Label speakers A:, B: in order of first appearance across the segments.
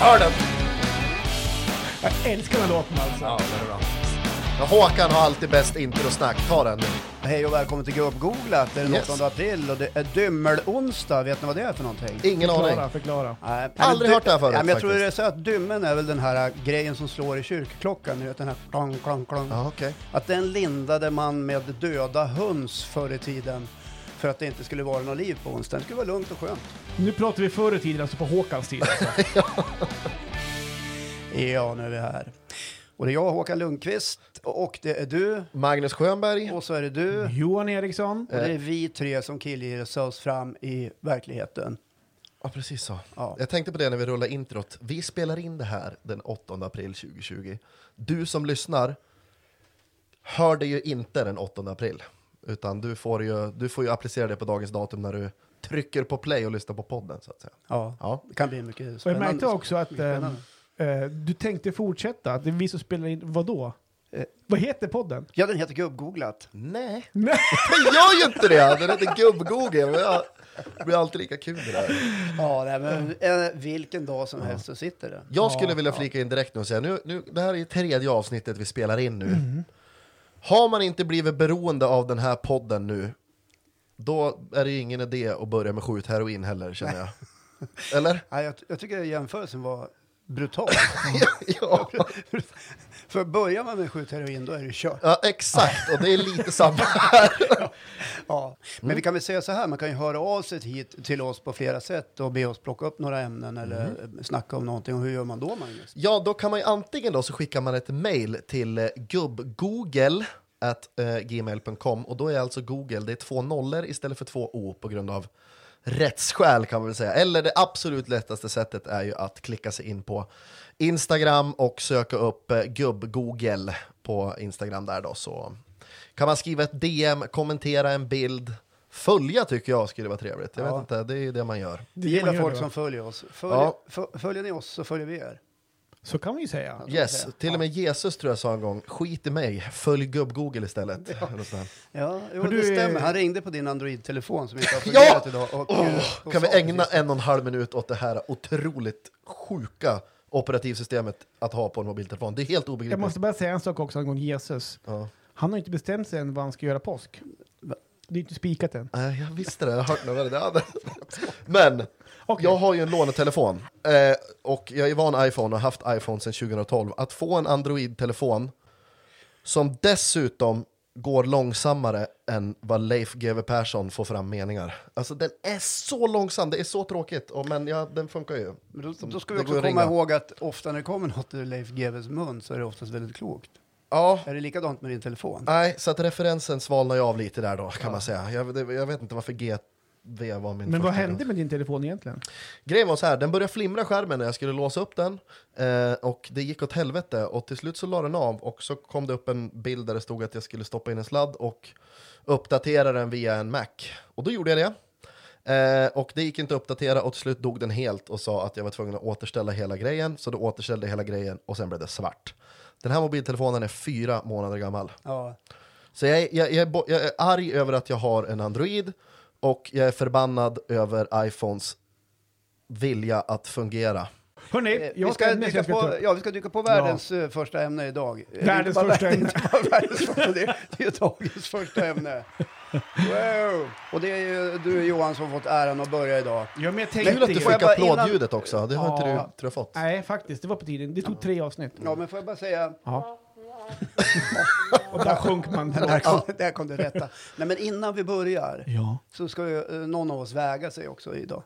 A: Hör den!
B: Jag älskar den här låten alltså.
A: Ja, det är bra. Men Håkan har alltid bäst introsnack. Ta den nu.
C: Hej och välkommen till Gubbgooglat. Det är den
A: Yes.
C: 8 april och det är dymmelonsdag. Vet ni vad det är för någonting?
A: Ingen
B: Förklara,
A: aning.
B: förklara.
C: Nej,
A: Aldrig
C: men
A: hört det här förut,
C: ja, men Jag tror
A: faktiskt.
C: det är så att dymmen är väl den här äh, grejen som slår i kyrkklockan. Ni vet den här klong, klong, klong.
A: Ja, okej.
C: Att den lindade man med döda höns förr i tiden. För att det inte skulle vara något liv på onsdagen. Det skulle vara lugnt och skönt.
B: Nu pratar vi förr i tiden, alltså på Håkans tid. Alltså.
C: Ja, nu är vi här. Och det är jag, Håkan Lundqvist. Och det är du.
A: Magnus Schönberg.
C: Och så är det du.
A: Mm.
C: Och
B: Johan Eriksson.
C: det är vi tre som killgissar oss fram i verkligheten.
A: Ja, precis så.
C: Ja.
A: Jag tänkte på det när vi rullade introt. Vi spelar in det här den 8 april 2020. Du som lyssnar hör det ju inte den 8 april. Utan du får ju, du får ju applicera det på dagens datum när du trycker på play och lyssnar på podden. så att säga.
C: Ja.
A: Ja.
C: Det kan bli mycket
B: Och jag
C: spännande.
B: märkte också att eh,
C: Spännande.
B: eh, du tänkte fortsätta. Att det är vi som spelar in, vadå? Eh, vad heter podden?
C: Ja, den heter Gubbgooglat.
A: Nej,
B: Nej,
A: jag gör ju inte det! Den heter gubb-Google. men jag- Det blir alltid lika kul det där.
C: Ja, nej, men eh, vilken dag som helst så sitter det.
A: Jag skulle vilja flika in direkt nu och säga, nu, nu, det här är tredje avsnittet vi spelar in nu. Har man inte blivit beroende av den här podden nu, då är det ju ingen idé att börja med skjut heroin heller, känner jag. Eller?
C: Ja, jag, jag tycker jämförelsen var brutal.
A: ja.
C: För börjar man med skjut heroin, då är det kört.
A: ja, exakt. Och det är lite samma.
C: Ja. Men vi kan väl säga så här, man kan ju höra av sig hit till oss på flera sätt och be oss plocka upp några ämnen eller mm. snacka om någonting. Och hur gör man då, Magnus?
A: Ja, då kan man ju antingen då så skickar man ett mejl till eh, gubbgoogle at eh, gmail.com och då är alltså Google, det är två nollor istället för två O på grund av rättsskäl kan man väl säga. Eller det absolut lättaste sättet är ju att klicka sig in på Instagram och söka upp eh, gubbgoogle på Instagram där då så kan man skriva ett DM, kommentera en bild, följa tycker jag skulle vara trevligt. Jag vet inte, det är ju det man gör.
B: det
C: Vi
B: man
C: gillar
B: gör
C: folk
B: det, va?
C: som följer oss. Följ,
A: Ja.
C: fö- följer ni oss så följer vi er.
B: Så kan man ju säga.
A: Yes, till och med Jesus tror jag sa en gång, skit i mig, följ gubb-Google istället. Eller något sånt där.
C: Ja, jo,
B: Men
C: det
B: du är-
C: stämmer. Han ringde på din Android-telefon som inte har
A: Ja!
C: fungerat idag. Och,
A: Åh,
C: och
A: kan
C: sa
A: vi ägna
C: precis-
A: en och en halv minut åt det här otroligt sjuka operativsystemet att ha på en mobiltelefon? Det är helt
B: Jag
A: obegripligt.
B: måste bara säga en sak också angående Jesus.
A: Ja.
B: Han har ju inte bestämt sig än vad han ska göra påsk. Det är inte spikat än.
A: Eh, Jag visste det, jag har hört något värre. Det hade- Men
B: Okej.
A: jag har ju en lånetelefon eh, och jag är van iPhone och har haft iPhone sedan 2012. Att få en Android-telefon som dessutom går långsammare än vad Leif GW Persson får fram meningar. Alltså den är så långsam, det är så tråkigt, och, men ja, den funkar ju.
C: Men då,
A: Som-
C: då ska vi
A: det
C: också
A: går att
C: komma
A: ringa.
C: ihåg att ofta när det kommer något ur Leif GWs mun så är det oftast väldigt klokt.
A: Ja,
C: Är det likadant med din telefon?
A: nej, så att referensen svalnar ju av lite där då, kan man säga. Jag, det- jag vet inte varför GV var min
B: Men
A: första
B: vad
A: telefon.
B: hände med din telefon egentligen?
C: Eh,
A: Grejen var så här, den började flimra skärmen när jag skulle låsa upp den eh, och det gick åt helvete och till slut så la den av och så kom det upp en bild där det stod att jag skulle stoppa in en sladd och uppdatera den via en Mac. Och då gjorde jag det. Eh, och det gick inte att uppdatera och till slut dog den helt och sa att jag var tvungen att återställa hela grejen. Så då återställde jag hela grejen och sen blev det svart. Den här mobiltelefonen är fyra månader gammal.
C: Ja.
A: Så jag, är- jag, jag, är bo- jag är arg över att jag har en Android och jag är förbannad över iPhones vilja att fungera.
B: Hörni,
C: Eh, Vi
B: jag
C: ska,
B: ska, jag
C: dyka
B: ska ta
C: på,
B: upp.
C: ja, vi ska dyka på världens eh, första ämne idag. Eh,
B: Världens
C: inte bara
B: första ämne.
C: inte bara världens första, det, är- det är dagens första ämne. Wow! Och det är ju du Johan som fått äran att börja idag.
B: Ja, men jag
A: Kul
B: tänkte
A: att du
B: ju-
C: Får jag
A: fick
C: bara
A: applådljudet också, det har
B: Ja.
A: inte du tror jag fått.
B: Nej, faktiskt. Det var på tiden. Det tog tre avsnitt.
C: Ja, men får jag bara säga,
B: Ja. Och där sjönk man.
C: där kom, där kom det rätta. Nej, men innan vi börjar
B: Ja,
C: så ska ju eh, någon av oss väga sig också idag.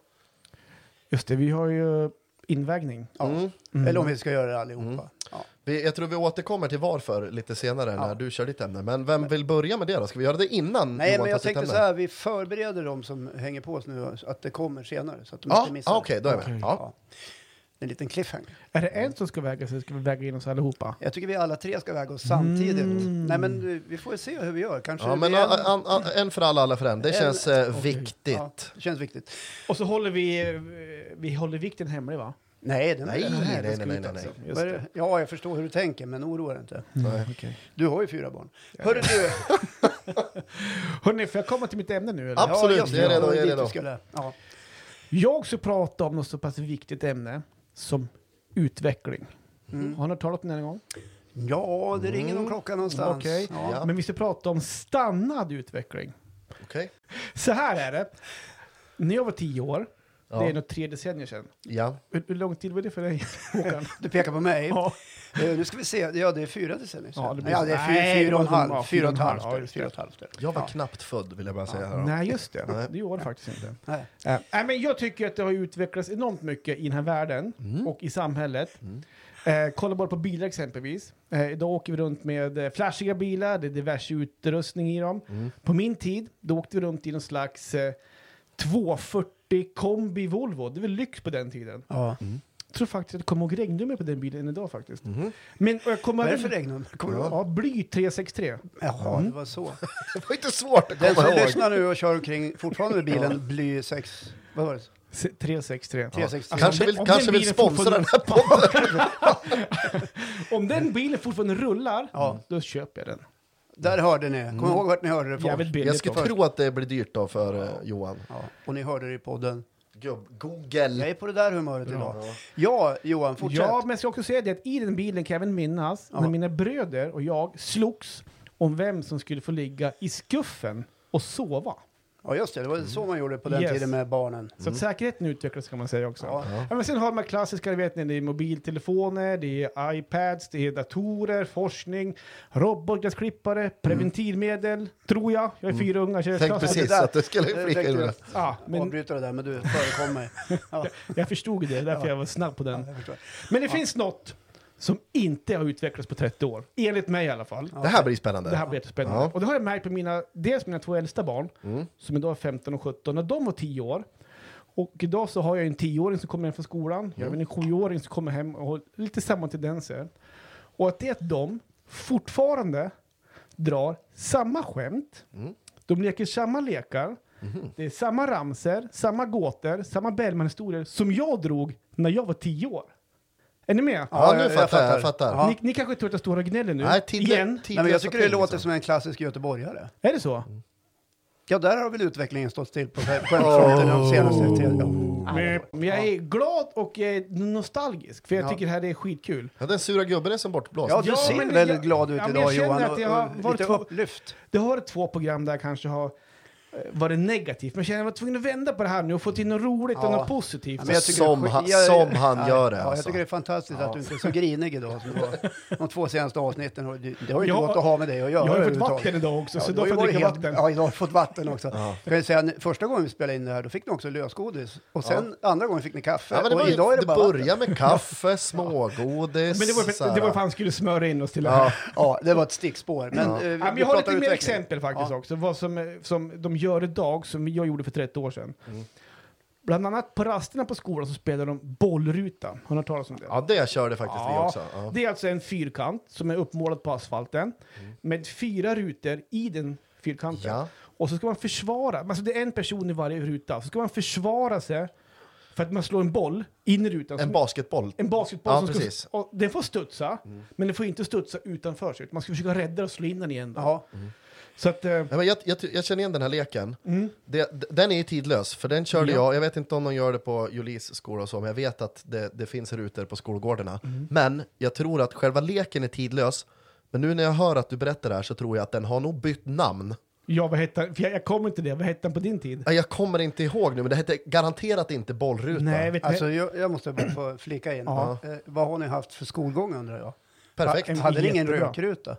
B: just det. Vi har ju invägning.
C: Ja. Eller om vi ska göra det allihopa. Ja.
A: Vi, jag tror vi återkommer till varför lite senare när du kör ditt ämne. Men vem vill börja med det då? Ska vi göra det innan
C: Nej,
A: Johan
C: men
A: tar
C: jag
A: sitt
C: tänkte
A: ämne?
C: så här, vi förbereder dem som hänger på oss nu att det kommer senare så att de
A: Ja,
C: inte missar.
A: ah, okej, då är vi med.
B: Okej.
A: Ja.
C: En liten cliffhanger.
B: Är det en som ska väga sig ska vi väga in oss allihopa.
C: Jag tycker vi alla tre ska väga oss samtidigt. Nej, men eh, vi får se hur vi gör. Kanske
A: Ja,
C: det
A: men eh,
C: blir
A: en, en, en för alla, alla för en. Det
C: En-
A: känns eh, viktigt.
C: Ja, det känns viktigt.
B: Och så håller vi, eh, vi håller vikten hemlig va?
C: Nej, den
A: Nej,
C: den
A: nej,
C: den
A: nej,
C: ska
A: nej,
C: ut
A: nej,
C: alltså.
B: nej. Just
C: Vad är det? Ja, jag förstår hur du tänker, men oroa dig inte.
A: Nej.
C: Du har ju fyra barn. Hörru du,
B: Hörni, får jag komma till mitt ämne nu? Eller?
A: Ja. Absolut,
C: just det,
A: jag är redo,
C: det var ju
A: jag är
C: dit
A: redo.
C: vi skulle. Ja.
B: Jag ska prata om något så pass viktigt ämne som utveckling. Har ni hört talat om det någon gång?
C: Ja, det ringer någon klocka någonstans.
B: Okej.
C: Ja.
A: Mm. Ja.
B: Men vi ska prata om stannad utveckling.
A: Okej.
B: Så här är det. När jag var tio år, det
A: Ja.
B: är nog tre decennier sedan.
A: Ja.
B: Hur, hur lång tid var det för dig, Håkan?
C: Du pekar på mig.
B: ja.
C: Eh, nu ska vi se. Ja, det är fyra decennier sedan.
B: Ja,
C: Ja,
B: det
C: det,
B: blir
C: är
B: så.
C: fyra,
B: Nej,
C: fyra och en
B: det var- ja,
C: halv. Fyra och ett halvt.
B: ja, just det.
C: Fyra och ett halvt.
A: Jag var
C: Ja.
A: knappt född vill jag bara säga. Här då.
B: Nej, just det.
A: Nej.
B: Det gjorde det faktiskt inte.
C: Nej.
B: Eh, Nej, men jag tycker att det har utvecklats enormt mycket i den här världen
C: Mm.
B: och i samhället. Eh, kolla bara på bilar exempelvis. Eh, idag åker vi runt med eh, flashiga bilar, det är diverse utrustning i dem.
A: Mm.
B: På min tid, då åkte vi runt i någon slags eh, 240 kombi Volvo. Det var lyx på den tiden.
C: Ja.
B: Jag tror faktiskt att det kommer ihåg regnummer på den bilen än idag faktiskt. Men och jag kommer
C: Mhm. Vad är det för regnum? Kommer du ihåg?
B: Ja, bly 363.
C: Jaha,
B: Mm.
C: det var så.
A: Det var inte svårt att
C: Den som
A: komma ihåg.
C: lyssnar nu och kör omkring fortfarande med bilen Bly 6... Vad var det?
B: Se- 363.
C: Ja. 363.
A: Kanske
B: Alltså, Om
A: vill,
B: den
A: kanske vill
B: bilen
A: sponsra den
B: fortfarande-
A: här podden.
B: Om den bilen fortfarande rullar,
C: Ja.
B: då köper jag den.
C: Där hörde ni.
B: Mm.
C: Kommer ihåg vart ni hörde det
B: Jävligt
C: från?
B: billigt.
A: Jag skulle
B: också.
A: tro att det blir dyrt då för eh, Johan.
C: Ja, och ni hörde det i podden.
A: Gubb, Google.
C: Jag är på det där humöret idag. Ja, Johan, fortsätt.
B: Ja, men jag ska också säga det att i den bilen kan jag även minnas
C: Ja.
B: när mina bröder och jag slogs om vem som skulle få ligga i skuffen och sova.
C: Ja, just det. Det var så man gjorde på den
B: Yes.
C: tiden med barnen.
B: Så
A: Mm.
B: att säkerheten utvecklas kan man säga också.
C: Ja.
B: Ja. men sen har man klassiska, ni vet ni, det är mobiltelefoner, det är iPads, det är datorer, forskning, robotgräsklippare, preventivmedel, tror jag. Jag är fyra unga, så jag
A: Mm. Tänk
B: ska-
A: precis
C: där-
A: att det skulle
C: det
A: flika
C: räckte
A: in det.
C: att
B: Ja, men
C: avbryta det där, men du förekom mig. Ja,
B: jag förstod det, därför jag var snabb på den.
C: jag förstår.
B: Men det finns något som inte har utvecklats på 30 år, enligt mig i alla fall.
A: Det här blir spännande.
B: Det här blir jättespännande.
A: Ja. Mm.
B: Och det har jag märkt på mina, dels mina två äldsta barn, som idag är 15 och 17, när de var 10 år. Och idag så har jag en 10-åring som kommer hem från skolan,
A: Mm.
B: jag har även en 7-åring som kommer hem och har lite samma tendenser. Och att det är att de fortfarande drar samma skämt,
A: Mm.
B: de leker samma lekar,
A: Mm-hmm.
B: det är samma ramser, samma gåtor, samma Bellman-historier som jag drog när jag var 10 år. Är ni med?
A: Ja, nu
C: jag- jag
A: fattar jag.
C: fattar.
A: jag fattar.
C: Ja.
B: Ni, ni kanske tror att jag står och gnäller nu?
A: Nej, tidlö-
B: Igen?
C: Nej, men
A: tidlösa
C: jag tycker det
A: ting,
C: låter
A: liksom.
C: som en klassisk göteborgare.
B: Är det så?
C: Ja, där har väl utvecklingen stått still på skämtfronten de senaste tre dagarna.
B: Men jag är glad och jag är nostalgisk, för jag tycker det här är skitkul.
A: Ja, den sura gubben är som bortblåst.
C: Ja, du
B: Ja,
C: ser
B: men jag-
C: väldigt glad ut
B: ja, men jag
C: idag
B: känner
C: Johan,
B: att
C: och,
B: jag har
C: och
B: varit
C: lite
B: två-
C: upplyft.
B: Det har varit två program där jag kanske har eh, varit negativt, men jag känner att jag var tvungen att vända på det här nu och få till något roligt och
C: Ja.
B: något positivt.
C: Ja, men jag tycker
A: Som
C: det är skit-
A: han- som han gör det,
C: Ja,
A: alltså.
C: Jag tycker det är fantastiskt att du inte är så grinig idag som du var de två senaste avsnitten. Och det det har ju
B: Jag-
C: inte gått att ha med dig att göra
B: jag har ju fått
C: överhuvudtaget.
B: vatten idag också,
C: Ja,
B: så
C: du
B: då
C: har
B: får
C: ju
B: jag
C: varit
B: dricka
C: helt-
B: vatten.
C: Ja, idag har jag fått vatten också. Kan jag säga, första gången vi spelade in det här, då fick ni också lösgodis. Och sen andra gången fick ni kaffe.
A: Ja, men det,
C: och
A: var,
C: idag är det,
A: det
C: bara vatten.
A: börjar med kaffe, smågodis.
B: Men det var,
A: så här.
B: för, det var för att han skulle smörja in oss till det här.
A: ja.
C: Ja, det var ett stickspår. Men, eh, vi-
B: Ja, men
C: vi
B: jag har
C: pratar
B: lite mer
C: utveckling.
B: exempel faktiskt
C: Ja.
B: också, vad som, eh, som de gör idag som jag gjorde för 30 år sedan.
C: Mm.
B: Bland annat på rasterna på skolan så spelar de bollruta. Har ni hört talas om det?
A: ja, det körde faktiskt vi också. Ja.
B: Det är alltså en fyrkant som är uppmålad på asfalten med fyra rutor i den fyrkanten.
A: Mm. Ja.
B: Och så ska man försvara, alltså det är en person i varje ruta, så ska man försvara sig för att man slår en boll in i rutan.
A: En
B: som-
A: basketboll.
B: en basketboll
A: Ja,
B: som
A: precis. Mm.
B: ska, och den får studsa, men den får inte studsa utanför sig. utan Man ska försöka rädda och slå in den igen. Då.
C: Ja.
B: Så att, eh,
A: Nej, men jag, jag, jag känner igen den här leken. Det, d- den är ju tidlös, för den körde
B: Mm. Ja.
A: jag. Jag vet inte om de gör det på Julis skola och så, men jag vet att det, det finns rutor på skolgårdarna.
B: Mm.
A: Men jag tror att själva leken är tidlös. Men nu när jag hör att du berättar det här så tror jag att den har nog bytt namn.
B: ja, vad hette han? För jag, jag kommer inte det, vad hette han på din tid?
A: Nej, Jag kommer inte ihåg nu, men det hette garanterat inte bollruta.
B: Nej, vet
C: Alltså,
B: ni,
C: jag, jag måste bara få flika in.
B: Ja.
C: Eh, vad har ni haft för skolgång undrar jag?
A: Perfekt.
B: Ja, en-
C: Hade ni ingen
B: Jättebra.
C: rökruta?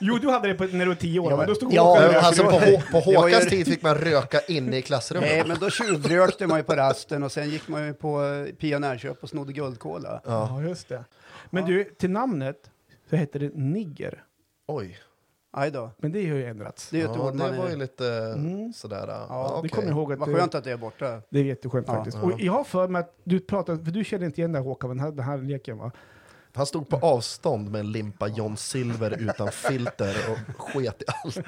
B: jo, du hade det på, när du var tio år,
C: Ja,
B: men då
C: men-
B: stod
C: ja,
B: Håkan
A: Ja,
B: där.
A: men alltså, på, Hå- på
C: Det var ju-
A: Håkans tid fick man röka inne i klassrummet.
C: Nej, men då tjuvrökte man ju på rasten och sen gick man ju på eh, pionärköp och snodde guldkola.
B: Ja, just det. Men du, till namnet så heter det nigger.
A: Oj,
C: Aj då.
B: Men det har ju ändrats.
C: Det är ju ett
A: ja,
C: ord
A: det
C: man...
A: var ju
C: Var
A: lite eh, sådär. Ja,
B: Mm. Det
A: okej.
B: kommer jag ihåg att
C: Vad
B: det,
C: skönt att det är borta.
B: det är jätteskönt
C: Ja,
B: faktiskt. Och jag har för mig att du pratade, för du kände inte igen den här Håkan, den här, den här leken va?
A: Han stod på avstånd med en limpa John Silver utan filter och sket i allt.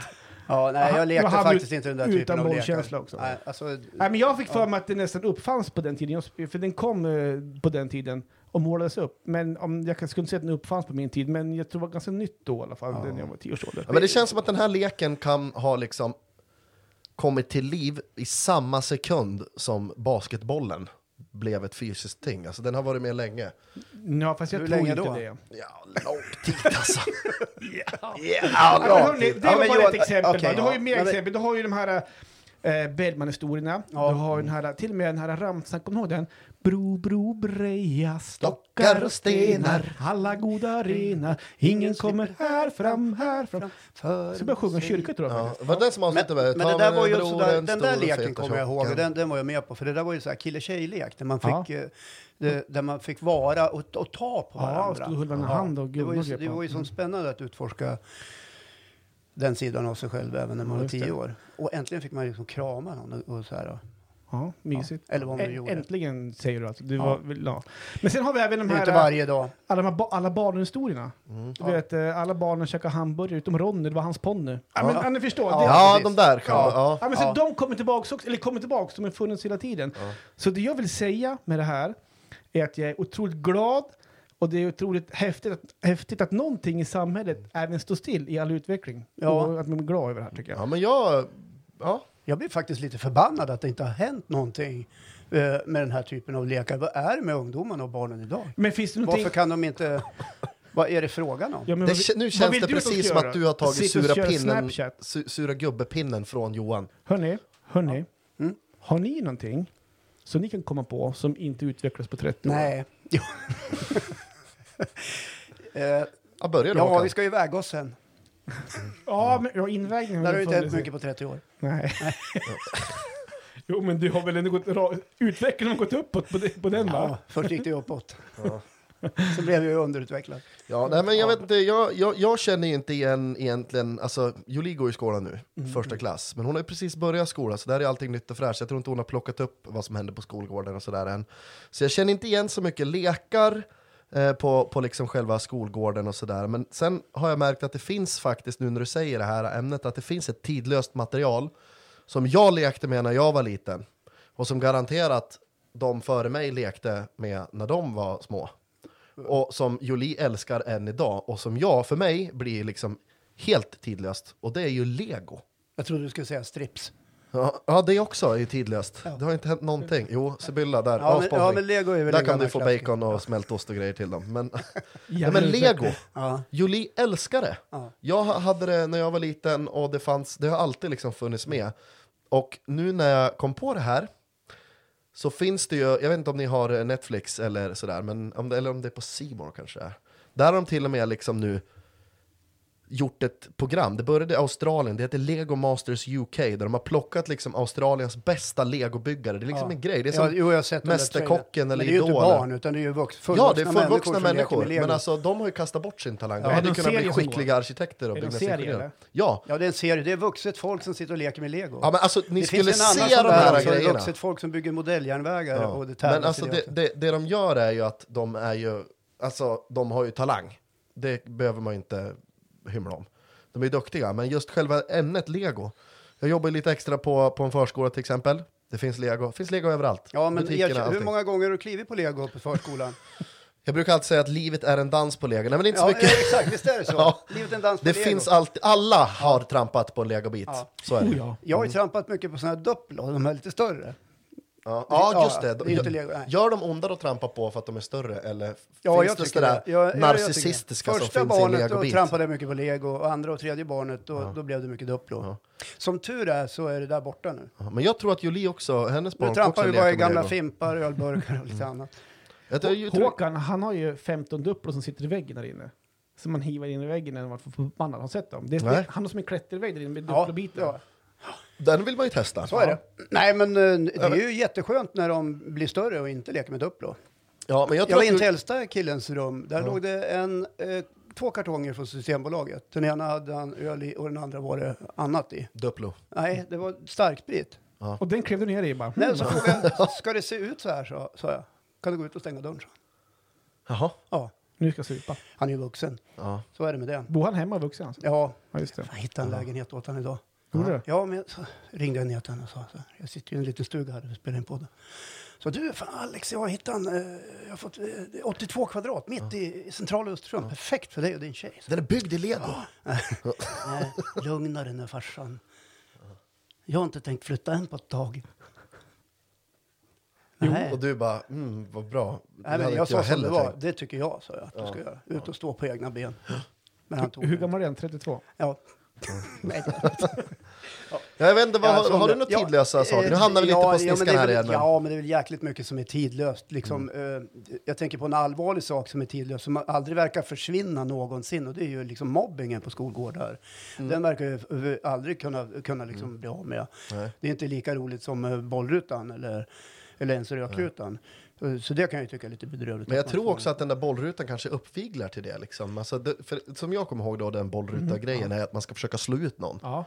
C: Ja, nej,
B: Aha,
C: jag lekte
B: men han
C: faktiskt
B: blir
C: inte den där
B: utan
C: typen av
B: bollkänsla också.
C: Nej, alltså,
B: Nej, men jag fick för mig att det nästan uppfanns på den tiden, Jag sp- för den kom eh, på den tiden och målades upp. Men om, jag kan- skulle inte säga att den uppfanns på min tid, men jag tror det var ganska nytt då i alla fall, när jag var tioårsåldern.
A: Ja, men det känns som att den här leken kan ha liksom kommit till liv i samma sekund som basketbollen blev ett fysiskt ting. Alltså den har varit med länge.
B: Ja, fast jag
C: Hur
B: tror
C: länge
B: inte
C: då?
B: det.
A: Ja, lång tid alltså.
B: Ja.
A: Ja,
B: men
A: lång
B: hörni,
A: tid.
B: det var
C: men
B: bara
C: Johan,
B: ett exempel.
C: okej,
B: va? du har ju
C: ja.
B: mer
C: Men det-
B: exempel. Du har ju de här eh, Bellman-historierna.
C: Ja.
B: Du har ju den här, till och med den här ramsan, kommer du ihåg den? Bro, bro, breja,
A: Stockar
B: stockar och stenar, alla goda rena, ingen kommer här fram, här fram.
C: För
B: Jag ska börja sjunga kyrka tror jag.
A: Ja, var det den som avslutade med
C: Men, men det
A: "Ta
C: där
A: mig
C: var ju
A: broren,
C: också där, den
A: stor
C: där
A: och fet
C: leken
A: och
C: kommer jag
A: tjock."
C: ihåg, och den, den var jag med på, för det där var ju så här kille-tjej-lek, där man
B: Ja.
C: fick, eh, det, där man fick vara och, och ta på
B: Ja, och
C: varandra.
B: stod och höll varandra i hand och
C: det var
B: gubben och
C: ju,
B: Mm.
C: så-
B: grep
C: det
B: på.
C: var ju så spännande att utforska den sidan av sig själv även när man
B: Ja,
C: var
B: just det.
C: tio år. Och äntligen fick man ju liksom krama någon och, och så här.
B: Ja,
C: Ja.
B: mysigt.
C: Eller vad man nu
B: Ä-
C: gjorde.
B: Äntligen säger du alltså. Du
C: Ja.
B: var, väl- ja. Men sen har vi även de
C: Det är
B: här, eh,
C: inte varje Mm. dag.
B: alla, de här ba- alla barnhistorierna. Du
C: Ja.
B: vet, eh, alla barnen käkar hamburgare utom Ronny, det var hans ponny. Ja, men
C: Ja.
B: ja, ni förstår.
C: Ja.
B: Det,
A: Ja,
C: precis.
A: de där kan
C: Ja.
A: ja.
B: Ja, men så
C: Ja.
B: De kommer tillbaka, också, eller kommer tillbaka, de har funnits hela tiden.
A: Ja.
B: Så det jag vill säga med det här är att jag är otroligt glad och det är otroligt häftigt att, häftigt att någonting i samhället även står still i all utveckling.
C: Ja.
B: Och att man är glad över det här tycker jag.
A: Ja, men jag... Ja.
C: Jag blir faktiskt lite förbannad att det inte har hänt någonting eh, med den här typen av lekar. Vad är det med ungdomarna och barnen idag?
B: Men finns det någonting...
C: Varför kan de inte... Vad är det frågan om?
B: Ja, men
A: Det,
B: vad vi-
A: kä- nu
B: vad
A: känns
B: vill
A: det
B: du ska
A: precis som
B: göra?
A: att du har tagit
B: Sitta och
A: sura,
B: köra
A: pinnen,
B: Snapchat.
A: su- sura gubbepinnen från Johan.
B: Hörni, hörni.
C: Mm.
B: Har ni någonting som ni kan komma på som inte utvecklas på 30 år?
C: Nej. Jo. Eh,
A: Ja, börja då
C: ja,
A: Håkan.
C: vi ska ju väga oss sen.
B: Ja, men ja, invägningen
A: Mm,
C: Där har ju inte hänt
B: funnits.
C: mycket på 30 år.
B: Nej. jo, men du har väl ändå gått... ra- Utvecklingen har gått uppåt på, det- på den, va?
C: Ja, först gick det ju uppåt.
A: Ja.
C: Sen blev jag ju underutvecklad.
A: Ja, nej, men jag, vet, inte, jag, jag, jag känner ju inte igen egentligen, alltså Julie går i skolan nu, första klass, men hon har ju precis börjat skolan så där är allting nytt och fräscht. Jag tror inte hon har plockat upp vad som händer på skolgården och sådär än. Så jag känner inte igen så mycket lekar eh, på, på liksom själva skolgården och sådär. Men sen har jag märkt att det finns faktiskt, nu när du säger det här ämnet, att det finns ett tidlöst material som jag lekte med när jag var liten och som garanterat de före mig lekte med när de var små och som Jolie älskar än idag och som jag, för mig, blir liksom helt tidlöst. Och det är ju lego.
C: Jag trodde du skulle säga strips.
A: Ja, ja det också är ju tidlöst.
C: Ja.
A: Det har inte hänt någonting. Jo, Sibylla där,
C: Ja, men,
A: avsponsring.
C: ja, men lego är väl
A: där kan
C: en
A: du
C: gammal
A: få
C: klassiker.
A: bacon och smältost och grejer till dem. Men, nej,
B: Jävla
A: men lego,
C: Ja,
A: Jolie älskar det.
C: ja.
A: Jag hade det när jag var liten och det, fanns, det har alltid liksom funnits med. Och nu när jag kom på det här så finns det ju, jag vet inte om ni har eh, Netflix eller sådär, men om det, eller om det är på Simor kanske det är. Där har de till och med liksom nu gjort ett program, det började i Australien, det heter Lego Masters UK, där de har plockat liksom Australiens bästa legobyggare. Det är liksom
C: Ja.
A: en grej. Det är
C: ja,
A: som,
C: jo, jag har sett den där
A: Mästerkocken
C: trailern.
A: eller
C: Men Det är ju inte
A: Idol.
C: barn, utan det är ju vux,
A: ja, det
C: fullvuxna
A: är fullvuxna
C: som leker
A: människor,
C: med lego.
A: men alltså de har ju kastat bort sin talang.
B: Ja,
A: de hade
B: det är en
A: kunnat bli
B: serie som går.
A: skickliga arkitekter och
B: Är det en serie,
A: byggnadsingenjörer.
B: eller?
A: Ja,
C: Ja, det är en serie. Det är vuxet folk som sitter och leker med lego.
A: Ja, men alltså, ni
C: det
A: skulle
C: finns en annan
A: se
C: sån
A: de här
C: också. Det är
A: grejerna.
C: vuxet folk som bygger modelljärnvägar
A: Ja.
C: och det tävlas
A: Men alltså,
C: i
A: det,
C: också.
A: det, det de gör är ju att de är ju, alltså de har ju talang. Det behöver man ju inte hymla om. De är ju duktiga, men just själva ämnet lego. Jag jobbar ju lite extra på, på en förskola till exempel. Det finns lego, finns lego överallt.
C: Ja, men
A: Butikerna,
C: erkänn, hur
A: allting.
C: många gånger har du klivit på lego på förskolan?
A: Jag brukar alltid säga att livet är en dans på lego. Nej, men inte så
C: ja,
A: mycket.
C: exakt, visst är det så?
A: Ja.
C: Livet är en dans på
A: Det
C: lego.
A: finns alltid, alla har trampat på en legobit.
C: Ja.
A: Så är det.
B: Oh,
A: ja.
B: ja.
C: Jag har ju trampat mycket på såna här Duplo, de här lite större.
A: Ja.
C: Ja,
A: just det.
C: det är inte lego, nej.
A: gör de onda att trampa på för att de är större? Eller
C: Ja,
A: finns
C: jag
A: det
C: tycker
A: sådär
C: det. Ja, ja, jag tycker det.
A: narcissistiska som
C: Första
A: finns i en
C: barnet då
A: legobit?
C: trampade jag mycket på lego och andra och tredje barnet då, då blev det mycket Duplo.
A: Ja.
C: Som tur är så är det där borta nu.
A: Ja, Men jag tror att Julie också, hennes barn
C: Nu
A: också
C: trampar vi
A: leker
C: bara i
A: med
C: gamla
A: lego. Mm.
C: fimpar, ölburkar och lite annat.
A: Jag tror- jag tror-
B: Håkan, han har ju 15 Duplo som sitter i väggen där inne. Som man hivar in i väggen när man får förbannad. Har du sett dem? Det är,
A: Nej.
B: han har som en klättervägg där inne med
C: Ja,
B: Duplo-bitar.
C: ja,
A: Den vill man ju testa.
C: så är det. Nej, men eh, det är ju jätteskönt när de blir större och inte leker med Duplo.
A: Ja, men jag
C: Jag,
A: tror
C: var
A: att
C: in till
A: Julie,
C: äldsta killens rum. Där låg det en, eh, två kartonger från Systembolaget. Den ena hade han öl i och den andra var det annat i.
A: Duplo.
C: Nej, det var starksprit.
B: Och den klev du ner i bara.
C: Nej, så frågade
A: Mm.
C: jag, ska det se ut så här? sa- sa jag. Kan du gå ut och stänga dörren? sa han.
A: Jaha.
C: Ja,
B: Nu ska jag supa.
C: han är ju vuxen.
A: Ja.
C: Så är det med det.
B: Bor han hemma vuxen alltså?
C: Ja,
B: Ja, just det.
C: jag hittade en lägenhet åt honom idag.
B: Gjorde du?
C: Ja, men så ringde jag ner till henne och sa så här. Jag sitter ju i en liten stuga här och spelar in podden. Så du, fan Alex, jag har hittat en, eh, jag har fått eh, 82 kvadrat mitt i i centrala Östersund. Perfekt för dig och din tjej. sa jag.
A: Den är byggd i lego.
C: Ah, Nej, lugna dig nu farsan. Jag har inte tänkt flytta än på ett tag. Nej.
A: Och du bara, mm, vad bra. Det
C: Nej, men
A: hade
C: jag
A: inte
C: sa som det var.
A: tänkt.
C: Det tycker jag, sa jag att du ska göra. Ut och stå på egna ben. Men han tog
B: Hur
C: det.
B: gammal är han? 32?
C: Ja. Nej,
A: Ja, Jag vet inte, vad,
C: Ja,
A: har,
C: som
A: har du
C: det-
A: några
C: ja,
A: tidlösa saker? Nu
C: eh,
A: hamnar vi lite
C: ja,
A: på
C: ja, men det
A: sniskan
C: är
A: här
C: väl-
A: igen. Men, Mm.
C: Ja, men det är väl jäkligt mycket som är tidlöst. Liksom, eh, jag tänker på en allvarlig sak som är tidlös, som aldrig verkar försvinna någonsin, och det är ju liksom mobbingen på skolgårdar.
A: Mm.
C: Den verkar ju eh, aldrig kunna, kunna liksom bli av med.
A: Nej.
C: Det är inte lika roligt som eh, bollrutan eller, eller ens rökrutan. Så, så det kan jag ju tycka är lite bedrövligt.
A: men jag
C: man
A: tror
C: får-
A: också att den där bollrutan kanske uppviglar till det. Liksom. Alltså, det för, som jag kommer ihåg då, den bollruta-grejen
C: Mm.
A: är att man ska försöka slå ut någon.
B: Ja.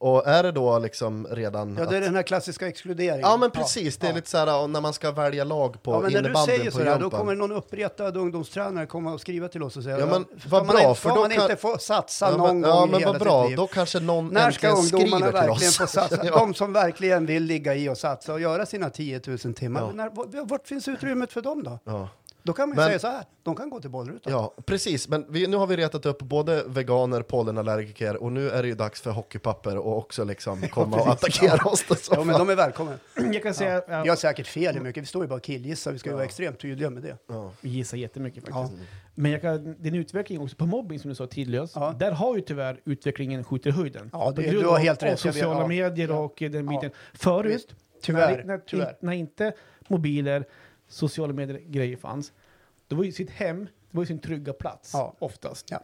A: Och är det då liksom redan...
C: Ja, det är
A: att,
C: den här klassiska exkluderingen.
A: ja men precis. det är
C: ja.
A: lite så här när man ska välja lag på
C: Ja, men när du säger
A: innebandyn på
C: sådär, då kommer
A: jumpan.
C: någon uppretad ungdomstränare komma och skriva till oss och säga
A: Ja, men
C: ska
A: vad
C: man
A: bra,
C: inte,
A: för
C: ska
A: då
C: man
A: kan-
C: inte få satsa
A: Ja,
C: någon
A: men, ja,
C: gång
A: men
C: i
A: vad
C: hela
A: bra.
C: sitt liv?
A: Då kanske någon
C: När ska
A: äntligen
C: ungdomarna
A: skriver till
C: verkligen
A: oss.
C: få satsa?
A: Ja.
C: De som verkligen vill ligga i och satsa och göra sina 10 000 timmar,
A: Ja.
C: när, vart, vart finns utrymmet för dem då?
A: Ja.
C: Då kan man ju
A: Men-
C: säga så här, de kan gå till bollrutan.
A: Ja, precis. Men vi, nu har vi retat upp både veganer, pollenallergiker och nu är det ju dags för hockeypapper och också liksom komma och attackera oss. då i så
C: Ja, men
A: fall.
C: de är välkomna.
B: Jag kan säga... Ja. Mm.
C: Vi har säkert fel i mycket, vi står ju bara och killgissar, vi ska ju vara extremt tydliga med det.
A: Ja.
B: Vi gissar jättemycket
C: Ja.
B: faktiskt. Men jag kan, det är en utveckling också på mobbing som du sa tidlös.
C: Ja.
B: Där har ju tyvärr utvecklingen skjutit i höjden.
C: Ja, det-
B: På grund
C: du har
B: av-
C: helt
B: av
C: rätt. Jag vet-
B: sociala
C: ja.
B: medier
C: Ja.
B: och eh, den
C: Ja.
B: biten. Förut,
C: Tyvärr,
B: när, när,
C: tyvärr.
B: när inte mobiler, sociala medier, grejer fanns, det var ju sitt hem, det var ju sin trygga plats
C: Ja.
B: oftast.
C: Ja.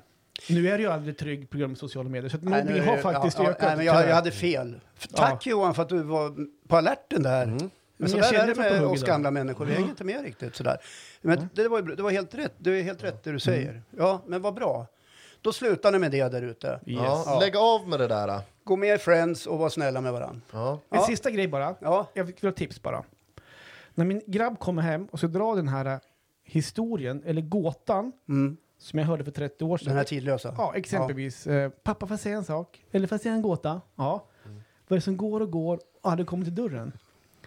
B: Nu är det ju aldrig trygg på grund av sociala medier, så att
C: Nej,
B: mobbing
C: nu-
B: har faktiskt
C: ja, ja,
B: ökat.
C: nej, men jag,
B: tyvärr.
C: jag hade fel. F-
B: Ja.
C: Tack Johan för att du var på alerten där. Men
B: Men
C: så
B: jag
C: där
B: kände
C: är det
B: att jag var
C: med
B: på Mm.
C: oss
B: hugget där.
C: gamla människor, vi hänger inte med riktigt sådär. Men
B: Mm.
C: det, var, ju bra- det var helt rätt, det är helt rätt det du säger. Ja, men vad bra. Då slutar ni med det där ute.
B: Yes.
A: Ja, lägg av med det där. då.
C: Gå med i Friends och var snälla med varandra.
A: Ja.
B: En
C: Ja.
B: sista grej bara.
C: Ja,
B: Jag fick ett tips bara. När min grabb kommer hem och ska dra den här eh, historien, eller gåtan,
C: mm.
B: som jag hörde för 30 år sedan.
C: den här tidlösa.
B: Ja, exempelvis. Eh, pappa, får jag säga en sak? Eller får jag säga en gåta? Ja.
A: Mm.
B: Vad är det som går och går och aldrig kommer till dörren?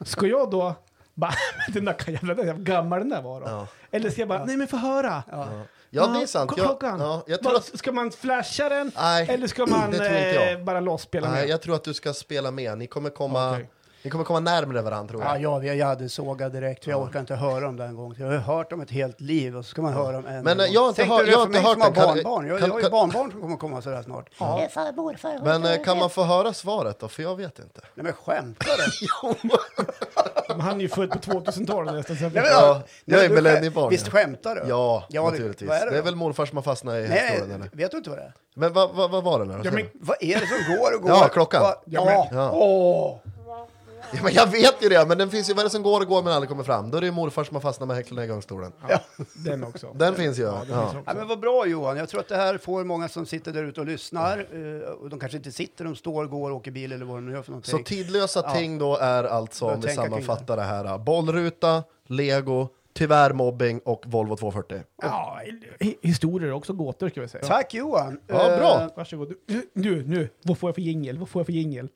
B: Ska jag då bara, den där kan jävla, den där gammal den där var då.
A: Ja.
B: Eller ska jag bara, nej men få höra.
C: Ja.
A: ja, det är sant.
B: K-
A: Jag,
B: Klockan.
A: ja, jag, tror
B: Vad-
A: att,
B: Ska man flasha den?
A: Nej,
B: eller ska man
A: det tror inte jag.
B: eh, bara låtsspela
A: nej,
B: med?
A: jag tror att du ska spela med. Ni kommer komma,
B: Okej.
A: ni kommer komma närmare varandra tror
C: Ja,
A: jag.
C: ja, vi- jag hade sågat direkt, för jag orkar inte höra dem där en gång. Jag har ju hört dem ett helt liv och så ska man höra dem en
A: Men,
C: gång.
A: eh, jag har inte
C: Tänk
A: hör-
C: dig det
A: jag har
C: för
A: inte
C: mig som
A: hört
C: har
A: den. Kan-
C: barnbarn. Jag,
A: kan-
C: jag har ju
A: kan-
C: barnbarn som kommer komma sådär snart.
A: Ja. Men eh, kan man få höra svaret då? För jag vet inte.
C: Nej men skämtar du?
B: Men Han är ju född på 2000-talet nästan. Så jag
C: Nej,
B: vet-
C: men,
A: Ja,
C: ja,
A: jag är
C: du
A: millenniebarn,
C: skäm-
A: ja.
C: Visst skämtar du?
A: Ja,
C: det-
A: naturligtvis.
C: vad
A: Det,
C: det
A: är
C: då?
A: väl morfar som har fastnat i historien?
C: Nej,
A: Eller?
C: vet du inte vad det är?
A: Men vad, vad, vad var det nu då?
B: Ja, men-
C: Vad är det som går och går?
A: Ja, klockan.
C: Va-
B: Ja, men-
C: Ja.
A: Ja.
C: Åh!
A: Ja, men jag vet ju det, men den finns ju, vad är det som går och går men aldrig kommer fram? Då är det ju morfar som har fastnat med häcklarna i gångstolen.
B: Den också.
A: Den finns ju.
B: Ja, den
A: Ja.
B: finns också.
C: Ja, men vad bra Johan, jag tror att det här får många som sitter där ute och lyssnar. eh, och De kanske inte sitter, de står, går, åker bil eller vad de nu gör för någonting.
A: Så tidlösa ting då är alltså,
C: Börja
A: om vi
C: tänka kring
A: sammanfattar det här, bollruta, lego, tyvärr mobbing och Volvo 240.
B: Ja, hi- historier är också gåtor ska vi säga.
C: Tack Johan!
A: Ja,
C: Eh,
A: bra.
B: Varsågod. Du, nu, nu. Vad får jag för jingel? Vad får jag för jingel?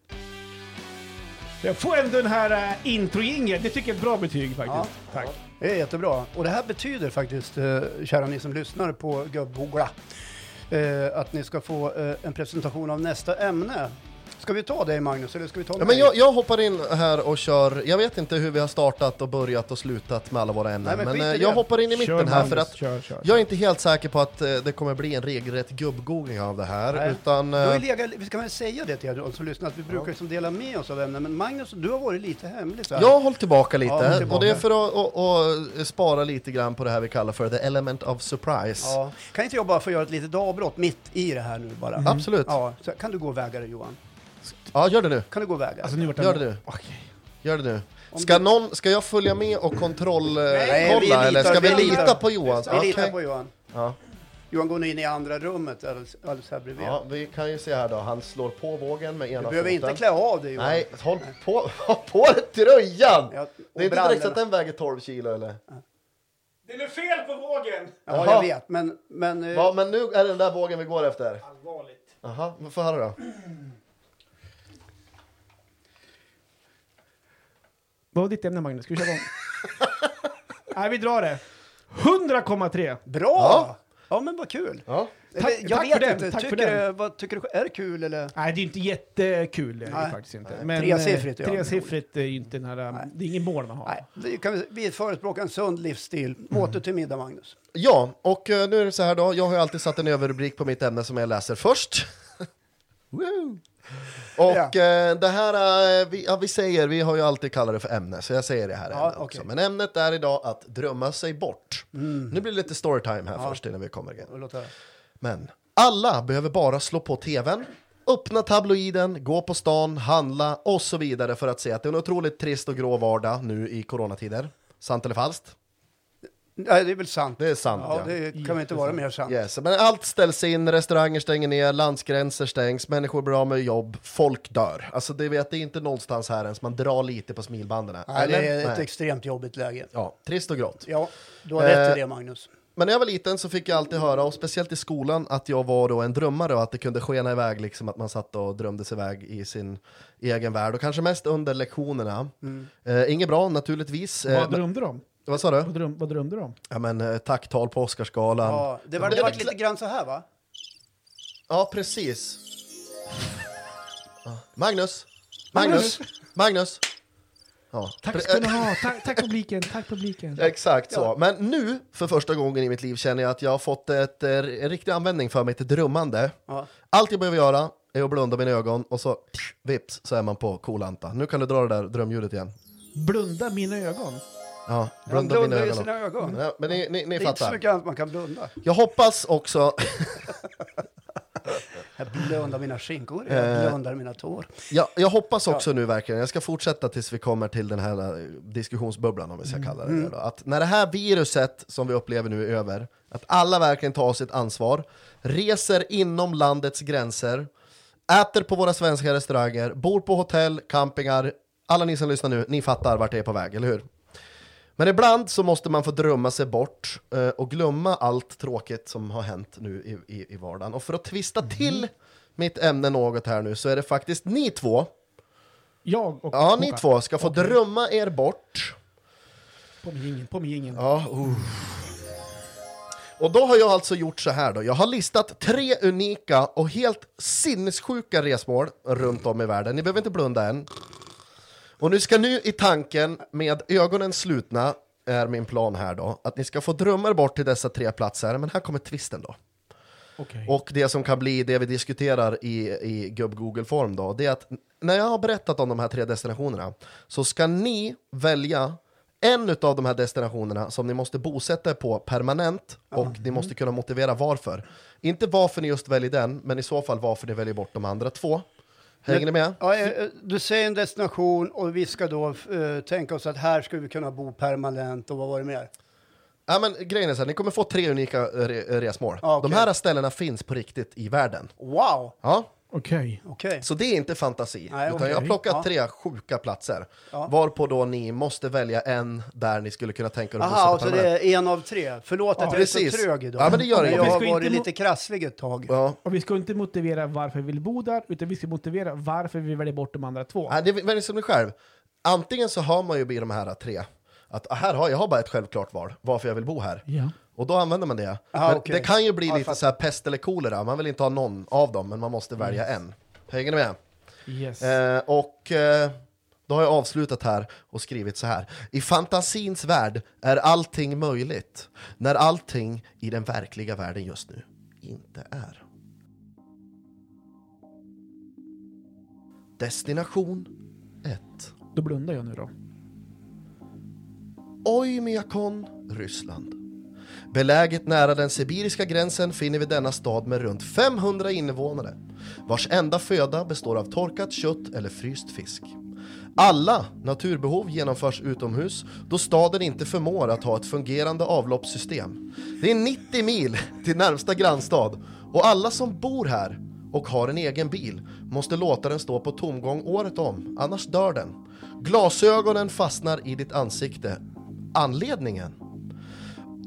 B: Jag får ändå den här uh, introjingeln. Det tycker jag är ett bra betyg faktiskt. Tack.
C: Det är jättebra. Och det här betyder faktiskt, eh, kära ni som lyssnar på Gubb-Googla, eh, att ni ska få eh, en presentation av nästa ämne. Ska vi ta dig Magnus, eller ska vi ta
A: Ja,
C: mig?
A: men jag, jag hoppar in här och kör, jag vet inte hur vi har startat och börjat och slutat med alla våra ämnen,
C: Nej, men
A: men,
C: skit i
A: eh,
C: det.
A: jag hoppar in i mitten
B: Kör,
A: här för
B: Magnus.
A: att
B: Kör, kör.
A: jag är inte helt säker på att eh, det kommer bli en regelrätt gubbgoogling av det här,
C: Nej.
A: utan...
C: Du har
A: eh,
C: ju legat, vi ska väl säga det till er som lyssnar, att vi brukar liksom dela med oss av ämnen, men Magnus, du har varit lite hemlig så här.
A: Jag har hållit tillbaka lite,
C: Ja, håll tillbaka.
A: och det är för att och, och spara lite grann på det här vi kallar för the element of surprise.
C: Ja. Kan inte jag bara få göra ett litet avbrott mitt i det här nu bara?
A: Mm. Absolut. Ja.
C: Ja, så kan du gå och väga det Johan?
A: gör det nu.
C: Kan du gå och väga?
B: Alltså nu vart
A: Gör det nu.
B: Okej.
A: Gör det nu. Ska, någon, ska jag följa med och
C: Nej, vi
A: kontrollkolla, eh,
C: litar-
A: eller ska vi
C: vi litar.
A: lita på Johan?
C: Vi litar
A: Okej.
C: på Johan.
A: Ja.
C: Johan går nu in i andra rummet alldeles, alldeles här bredvid.
A: ja, vi kan ju se här då. Han slår på vågen med ena
C: du behöver
A: foten.
C: inte klä av dig Johan.
A: Nej, håll på, ha på dig tröjan!
C: Ja, Eh. och
A: det är inte direkt
C: brallorna.
A: att den väger 12 kilo eller?
B: Det blev fel på vågen!
A: Jaha.
C: Ja, jag vet, men... men eh,
A: Ja, men nu är det den där vågen vi går efter.
B: Allvarligt.
A: Jaha, men få höra då.
B: Vad var ditt ämne Magnus? Ska vi köra igång? Nej, vi drar det. 100,3.
C: Bra!
A: Ja.
C: Ja, men vad kul.
A: Ja.
C: Eller, jag
B: tack
C: vet
B: för den,
C: inte,
B: tack för
C: tycker,
B: den.
C: Vad, tycker du, är det kul eller?
B: Nej, det är inte jättekul. Det är det
C: Nej.
B: faktiskt inte.
C: Nej,
B: Men,
C: tresiffrigt,
B: eh,
C: ja.
B: Tresiffrigt är ju inte den här... eh,
C: Nej.
B: Det är ingen mål man har.
C: Nej, vi, kan, vi- vi förespråkar en sund livsstil.
A: Mm.
C: Åter till middag, Magnus.
A: Ja, och eh, nu är det så här då. Jag har ju alltid satt en överrubrik på mitt ämne som jag läser först. Woo!
C: Eh,
A: och eh, det här, eh, vi, ja, vi säger, vi har ju alltid kallat det för ämne, så jag säger det här
C: Ja,
A: ämnet
C: okej. Mm.
A: också. Men ämnet är idag att drömma sig bort. Nu blir det lite storytime här
C: Ja.
A: först innan vi kommer igen.
C: Och låt höra.
A: Men alla behöver bara slå på tvn, öppna tabloiden, gå på stan, handla och så vidare för att se att det är en otroligt trist och grå vardag nu i coronatider. Sant eller falskt?
C: Nej, det är väl sant.
A: Det är sant,
C: ja,
A: ja.
C: det kan väl inte vara mer sant.
A: Yes, men allt ställs in, restauranger stänger ner, landsgränser stängs, människor blir av med jobb, folk dör. Alltså det, vet, det är inte någonstans här ens, man drar lite på smilbanden. här,
C: Nej, det
A: eller?
C: är ett
A: Nej.
C: extremt jobbigt läge.
A: Ja, trist och grått.
C: Ja, du har rätt
A: Eh,
C: i det, Magnus.
A: Men när jag var liten så fick jag alltid höra, och speciellt i skolan, att jag var då en drömmare och att det kunde skena iväg, liksom att man satt och drömde sig iväg i sin egen värld. Och kanske mest under lektionerna. Eh, inget bra naturligtvis. Eh,
B: Vad drömde de?
A: vad sa du?
B: Vad, dröm, vad drömde de?
A: Ja men eh, tacktal på Oscarsgalan.
C: Ja, det var,
A: det
C: det var
A: är
C: lite grann så här, va?
A: Ja, precis. Ja. Magnus! Magnus! Magnus! Ja.
B: Tack
A: pre-
B: ska ni ha. Tack, tack publiken. Tack publiken.
A: Exakt så. Men nu, för första gången i mitt liv, känner jag att jag har fått ett, eh, en riktig användning för mitt drömmande.
C: Ja.
A: Allt jag behöver göra är att blunda mina ögon och så pff, vips så är man på Kolanta. Nu kan du dra det där drömljudet igen.
B: Blunda mina ögon.
A: Ja,
C: Man
A: blunda mina
C: blundar i
A: ögon.
C: sina ögon.
A: Ja, men ni, ni, ni
C: Det är inte så
A: fattar.
C: mycket annat man kan blunda.
A: Jag hoppas också
C: Jag blundar mina skinkor,
A: Eh.
C: jag blundar mina tår.
A: Jag, jag hoppas också nu verkligen, jag ska fortsätta tills vi kommer till den här eh, diskussionsbubblan om vi ska kalla det det då, att när det här viruset som vi upplever nu är över, att alla verkligen tar sitt ansvar, reser inom landets gränser, äter på våra svenska restauranger, bor på hotell, campingar, alla ni som lyssnar nu, ni fattar vart det är på väg, eller hur? Men ibland så måste man få drömma sig bort eh, och glömma allt tråkigt som har hänt nu i, i, i vardagen. Och för att twista till mitt ämne något här nu så är det faktiskt ni två,
B: Jag och
A: ja ni
B: Håkan.
A: två, ska få drömma er bort.
B: På med jingeln, på med jingeln.
A: Ja, uh. Och då har jag alltså gjort så här då. Jag har listat tre unika och helt sinnessjuka resmål runt om i världen. Ni behöver inte blunda än. Och nu ska nu i tanken, med ögonen slutna, är min plan här då. Att ni ska få drömma er bort till dessa tre platser. Men här kommer twisten då.
B: Okej.
A: Och det som kan bli det vi diskuterar i, i gubb-Google-form då, det är att när jag har berättat om de här tre destinationerna så ska ni välja en av de här destinationerna som ni måste bosätta er på permanent och ni
C: Mm.
A: måste kunna motivera varför. Inte varför ni just väljer den, men i så fall varför ni väljer bort de andra två. Hänger ni med?
C: Ja, eh, eh, du säger en destination och vi ska då eh, tänka oss att här skulle vi kunna bo permanent och vad var det mer?
A: Ja, men grejen är så här, ni kommer få tre unika eh, re- eh, resmål.
C: Ja, okej.
A: De här ställena finns på riktigt i världen.
C: Wow!
A: Ja,
B: Okej.
C: Okej.
A: Så det är inte fantasi,
C: Nej,
A: utan
C: okej.
A: jag har plockat
C: Ja.
A: tre sjuka platser.
C: Ja.
A: Varpå då ni måste välja en där ni skulle kunna tänka er att bosätta
C: Aha, och så det
A: permanent.
C: är en av tre. Förlåt att jag är
A: precis.
C: så trög idag.
A: Ja, men det gör inget.
C: jag
B: Vi
C: har
B: ska inte
C: varit
B: mo-
C: lite krasslig ett tag.
A: Ja.
B: Och vi ska inte motivera varför vi vill bo där, utan vi ska motivera varför vi väljer bort de andra två.
A: Nej, det är väldigt som dig själv. Antingen så hör man ju i de här tre att ah, här har jag har bara ett självklart val, varför jag vill bo här.
B: Ja.
A: Och då använder man det.
C: Aha,
A: men
C: okej.
A: Det kan ju bli
C: Ja, jag
A: lite
C: fattar.
A: så här pest eller kolera, man vill inte ha någon av dem, men man måste
C: Mm.
A: välja en. Hänger ni med?
B: Yes.
A: Eh, och eh, då har jag avslutat här och skrivit så här. I fantasins värld är allting möjligt när allting i den verkliga världen just nu inte är. Destination 1.
B: Då blundar jag nu då.
A: Oymyakon, Ryssland. Beläget nära den sibiriska gränsen finner vi denna stad med runt 500 invånare vars enda föda består av torkat kött eller fryst fisk. Alla naturbehov genomförs utomhus då staden inte förmår att ha ett fungerande avloppssystem. Det är 90 mil till närmsta grannstad och alla som bor här och har en egen bil måste låta den stå på tomgång året om, annars dör den. Glasögonen fastnar i ditt ansikte. Anledningen?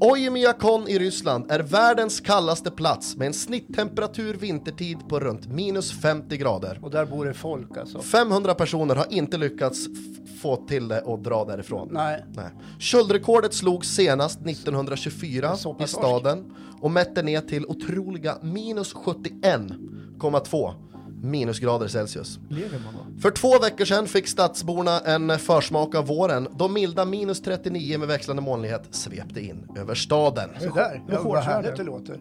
A: Oymyakon i Ryssland är världens kallaste plats med en snitttemperatur vintertid på runt minus 50 grader.
C: Och där bor det folk alltså.
A: Mm. 500 personer har inte lyckats f- få till det och dra därifrån.
C: Nej.
A: Nej. Köldrekordet slogs senast 1924
C: Så
A: i
C: pass
A: staden och mätte ner till otroliga minus 71,2 minusgrader Celsius.
B: Lever man då?
A: För två veckor sedan fick stadsborna en försmak av våren då milda minus 39 med växlande molnighet svepte in över staden.
C: Så där.
B: Hur
C: Ja,
B: hårt
C: vad
B: är
C: härligt
B: det?
C: det låter.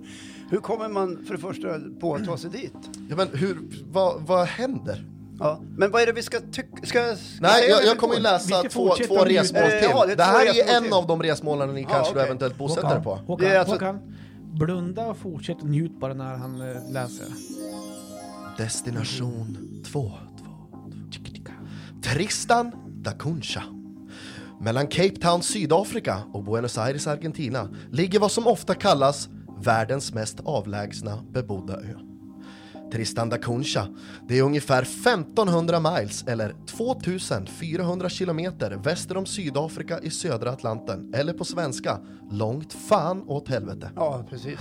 C: Hur kommer man för det första på att ta sig dit?
A: Ja, men hur, vad, vad händer?
C: Ja. Men vad är det vi ska tycka? Ska, ska
A: Nej,
C: säga
A: jag,
C: hur
A: jag
C: vi
A: kommer ju
C: går?
A: läsa
B: Vi ska
A: två,
B: fortsätta
A: två
B: om
A: resmål
C: Djurgården.
A: till.
C: Eh, ja, det är
A: det
C: två
A: här är
C: resmål
A: en
C: till.
A: av de resmålen ni
C: Ja,
A: kanske
C: okej.
A: du eventuellt bosätter er
B: Håkan,
A: på.
B: Håkan,
C: Det är alltså-
B: Håkan, blunda och fortsätt och njut bara när han eh, läser.
A: Destination 2. Tristan da Cunha. Mellan Cape Town, Sydafrika och Buenos Aires, Argentina ligger vad som ofta kallas världens mest avlägsna bebodda ö. Tristan da Cunha, det är ungefär 1500 miles eller 2400 kilometer väster om Sydafrika i södra Atlanten, eller på svenska, långt fan åt helvete.
C: Ja, precis.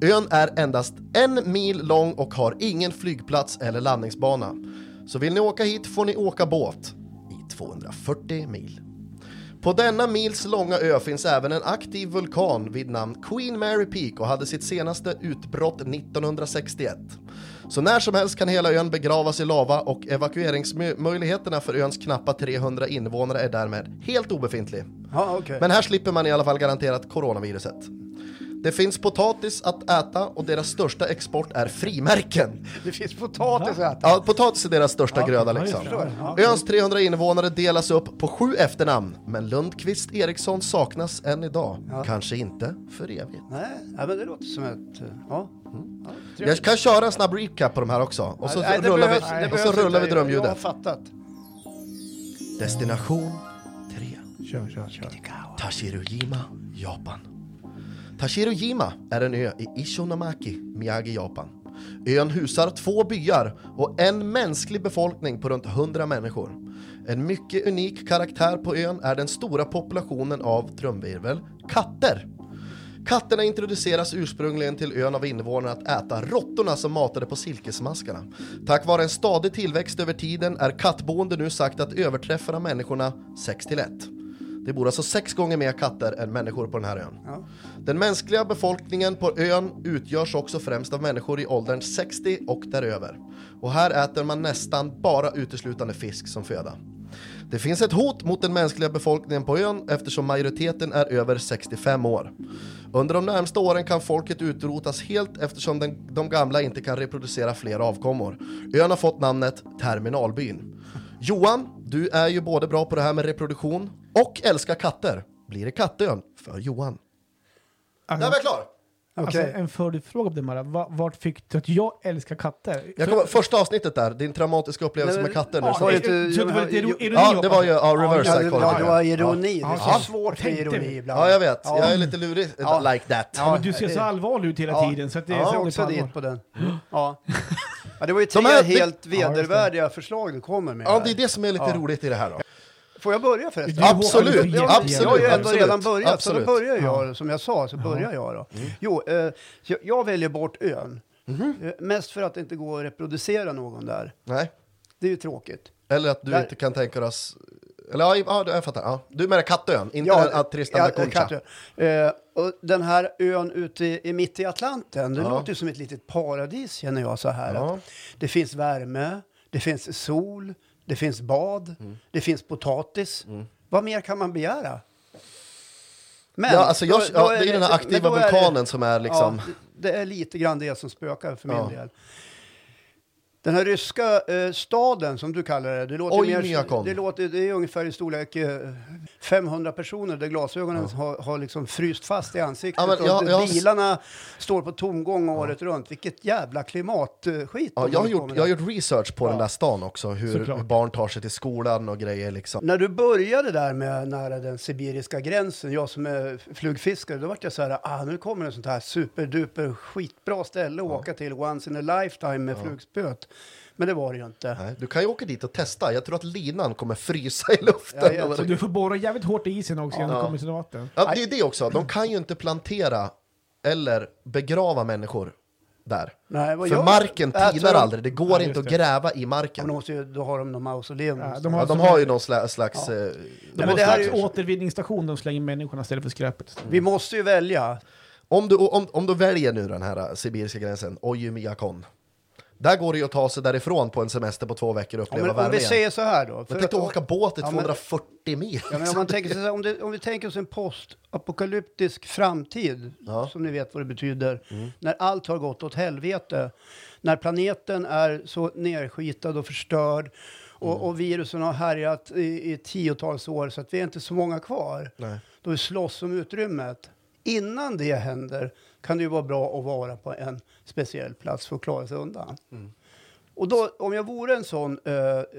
A: Ön är endast en mil lång och har ingen flygplats eller landningsbana. Så vill ni åka hit får ni åka båt i 240 mil. På denna mils långa ö finns även en aktiv vulkan vid namn Queen Mary Peak och hade sitt senaste utbrott 1961. Så när som helst kan hela ön begravas i lava och evakueringsmöjligheterna för öns knappa 300 invånare är därmed helt obefintlig.
C: Ja, okej.
A: Men här slipper man i alla fall garanterat coronaviruset. Det finns potatis att äta och deras största export är frimärken.
C: Det finns potatis att äta.
A: Ja, potatis är deras största gröda liksom.
B: just
C: Förstår du? Ja.
A: Öns 300 invånare delas upp på sju efternamn, men Lundqvist Eriksson saknas än idag. Kanske inte för evigt.
C: Nej, ja, men det låter som ett... eh, Ja. ja
A: Jag
C: trevligt.
A: kan köra en snabb recap på de här också, och så
C: Nej, det
A: rullar
C: behövs- det
A: vi, och så
C: behövs
A: rullar vi
C: inte. Jag har
A: drömljudet.
C: fattat.
A: Destination 3.
B: Kör, kör, kör.
A: Tashirojima, Japan. Tashirojima är en ö i Ishinomaki, Miyagi, Japan. Ön husar två byar och en mänsklig befolkning på runt 100 människor. En mycket unik karaktär på ön är den stora populationen av trumvirvel, katter. Katterna introduceras ursprungligen till ön av invånarna att äta råttorna som matade på silkesmaskarna. Tack vare en stadig tillväxt över tiden är kattboende nu sagt att överträffa människorna 6 till 1. Det bor alltså sex gånger mer katter än människor på den här ön.
C: Ja.
A: Den mänskliga befolkningen på ön utgörs också främst av människor i åldern 60 och däröver. Och här äter man nästan bara uteslutande fisk som föda. Det finns ett hot mot den mänskliga befolkningen på ön eftersom majoriteten är över 65 år. Under de närmsta åren kan folket utrotas helt eftersom den, de gamla inte kan reproducera fler avkommor. Ön har fått namnet Terminalbyn. Johan, du är ju både bra på det här med reproduktion och älskar katter. Blir det kattön för Johan? Där var jag klar!
C: Okej.
B: Alltså, en följdfråga på det Mara. Va- Vart fick du att jag älskar katter?
A: Jag kommer, första avsnitt där, din traumatiska upplevelse
C: Nej,
A: med
C: men-
A: katter
C: ja,
A: nu.
B: Så
C: var
A: Så,
C: ju
B: eh,
C: inte-
B: så det var lite ero- ironi
A: ja, det var ju
B: hoppas
A: ja,
B: jag.
A: reverse
C: Ja, det, ja, det var
A: psychology.
C: ironi. Det är
B: Ja.
C: så svårt med
B: Tänkte vi.
C: ironi ibland.
A: Ja, jag vet. Jag är
C: Ja.
A: lite lurig
C: Ja. eh,
A: like that.
B: Ja, men du ser så allvarlig ut hela
C: Ja.
B: tiden så att det är
C: Jag
B: så
C: är
B: om det
C: också
B: är på
C: dit
B: allvar.
C: på den. Ja. ja, det var ju tre
A: De här-
C: helt
B: det.
C: vedervärdiga förslag du kommer med.
A: Ja,
C: här.
A: det är det som är lite
C: Ja.
A: roligt i det här då.
C: Får jag börja förresten?
B: Du, Håkan,
A: Absolut,
B: du får jättegärna-
A: absolut,
C: Jag har ju ändå
A: absolut,
C: redan börjat,
A: absolut. Mm.
C: så då börjar jag, som jag sa, så börjar jag då. Jo, eh, så jag, jag väljer bort ön.
A: Mhm.
C: Eh, mest för att det inte går att reproducera någon där.
A: Nej.
C: Det är ju tråkigt.
A: Eller att du
C: Där-
A: inte kan tänka dig... att- Eller ja, ja, jag fattar. Ja. Du menar kattön, inte den- att Tristan da Cunha.
C: kanske. Eh, och den här ön ute i, i mitt i Atlanten, det
A: Ja.
C: låter ju som ett litet paradis känner jag så här.
A: Ja.
C: Att det finns värme, det finns sol, det finns bad,
A: Mm.
C: det finns potatis. Vad mer kan man begära? Men,
A: Ja, alltså jag,
C: då- då
A: ja, det är den
C: men
A: här aktiva
C: då är det-
A: vulkanen som är liksom...
C: Ja, det det är lite grann det som spökar för min
A: Ja.
C: del. Den här ryska eh, staden som du kallar det, det låter,
A: Oj,
C: mer,
A: Myakon.
C: det, låter det är ungefär i storlek eh, 500 personer där glasögonen har, har liksom fryst fast i ansiktet
A: Ja, men jag-
C: och
A: jag har-
C: bilarna står på tomgång året runt. Vilket jävla klimatskit.
A: Ja,
C: de
A: jag, har
C: håller på
A: gjort,
C: med
A: jag har
C: där.
A: gjort research på
C: Ja.
A: den där stan också, hur,
B: Såklart.
A: hur barn tar sig till skolan och grejer liksom.
C: När du började där med nära den sibiriska gränsen, jag som är flugfiskare, då vart jag så här, ah, nu kommer det sånt här superduper skitbra ställe att åka till once in a lifetime med flugspöt. Men det var det ju inte.
A: Nej, du kan ju åka dit och testa. Jag tror att linan kommer frysa i luften.
C: Ja, jag
A: Och-
B: Så du får borra jävligt hårt i isen också innan du kommer till vatten.
A: Ja, det är det också. De kan ju inte plantera eller begrava människor där.
C: Nej, vad
A: För
C: gör- Äh,
A: marken
C: Jag
A: tinar
C: tror de-
A: aldrig. Det går
B: just
A: inte att
B: det.
A: gräva i
C: Men de
A: marken.
C: måste ju, då har de någon mausoleum.
B: Ja,
C: någonstans.
B: de
A: Ja, de har ju någon sla- slags... eh,
B: De
C: men
B: har
C: det här
B: en
C: är
B: slags
C: ju-
B: återvinningsstation där de slänger människorna istället för skräpet.
C: Vi måste ju välja.
A: Om, du, om, om du väljer nu den här eh, sibiriska gränsen, Ojumiakon. Där går det ju att ta sig därifrån på en semester på två veckor och
C: Ja,
A: uppleva
C: men om
A: värme
C: vi
A: igen.
C: säger så här då.
A: Men tänk att åka båt i
C: Ja, men-
A: 240 mil.
C: Ja, men om, man tänker sig, så här, om, det, om vi tänker oss en postapokalyptisk framtid,
A: Ja. Mm.
C: som ni vet vad det betyder, när allt har gått åt helvete, när planeten är så nerskitad och förstörd och,
A: Mm.
C: och virusen har härjat i, i tiotals år så att vi är inte så många kvar,
A: Nej.
C: då vi slåss om utrymmet. Innan det händer kan det ju vara bra att vara på en speciell plats för att klara sig undan. Och då, om jag vore en sån eh,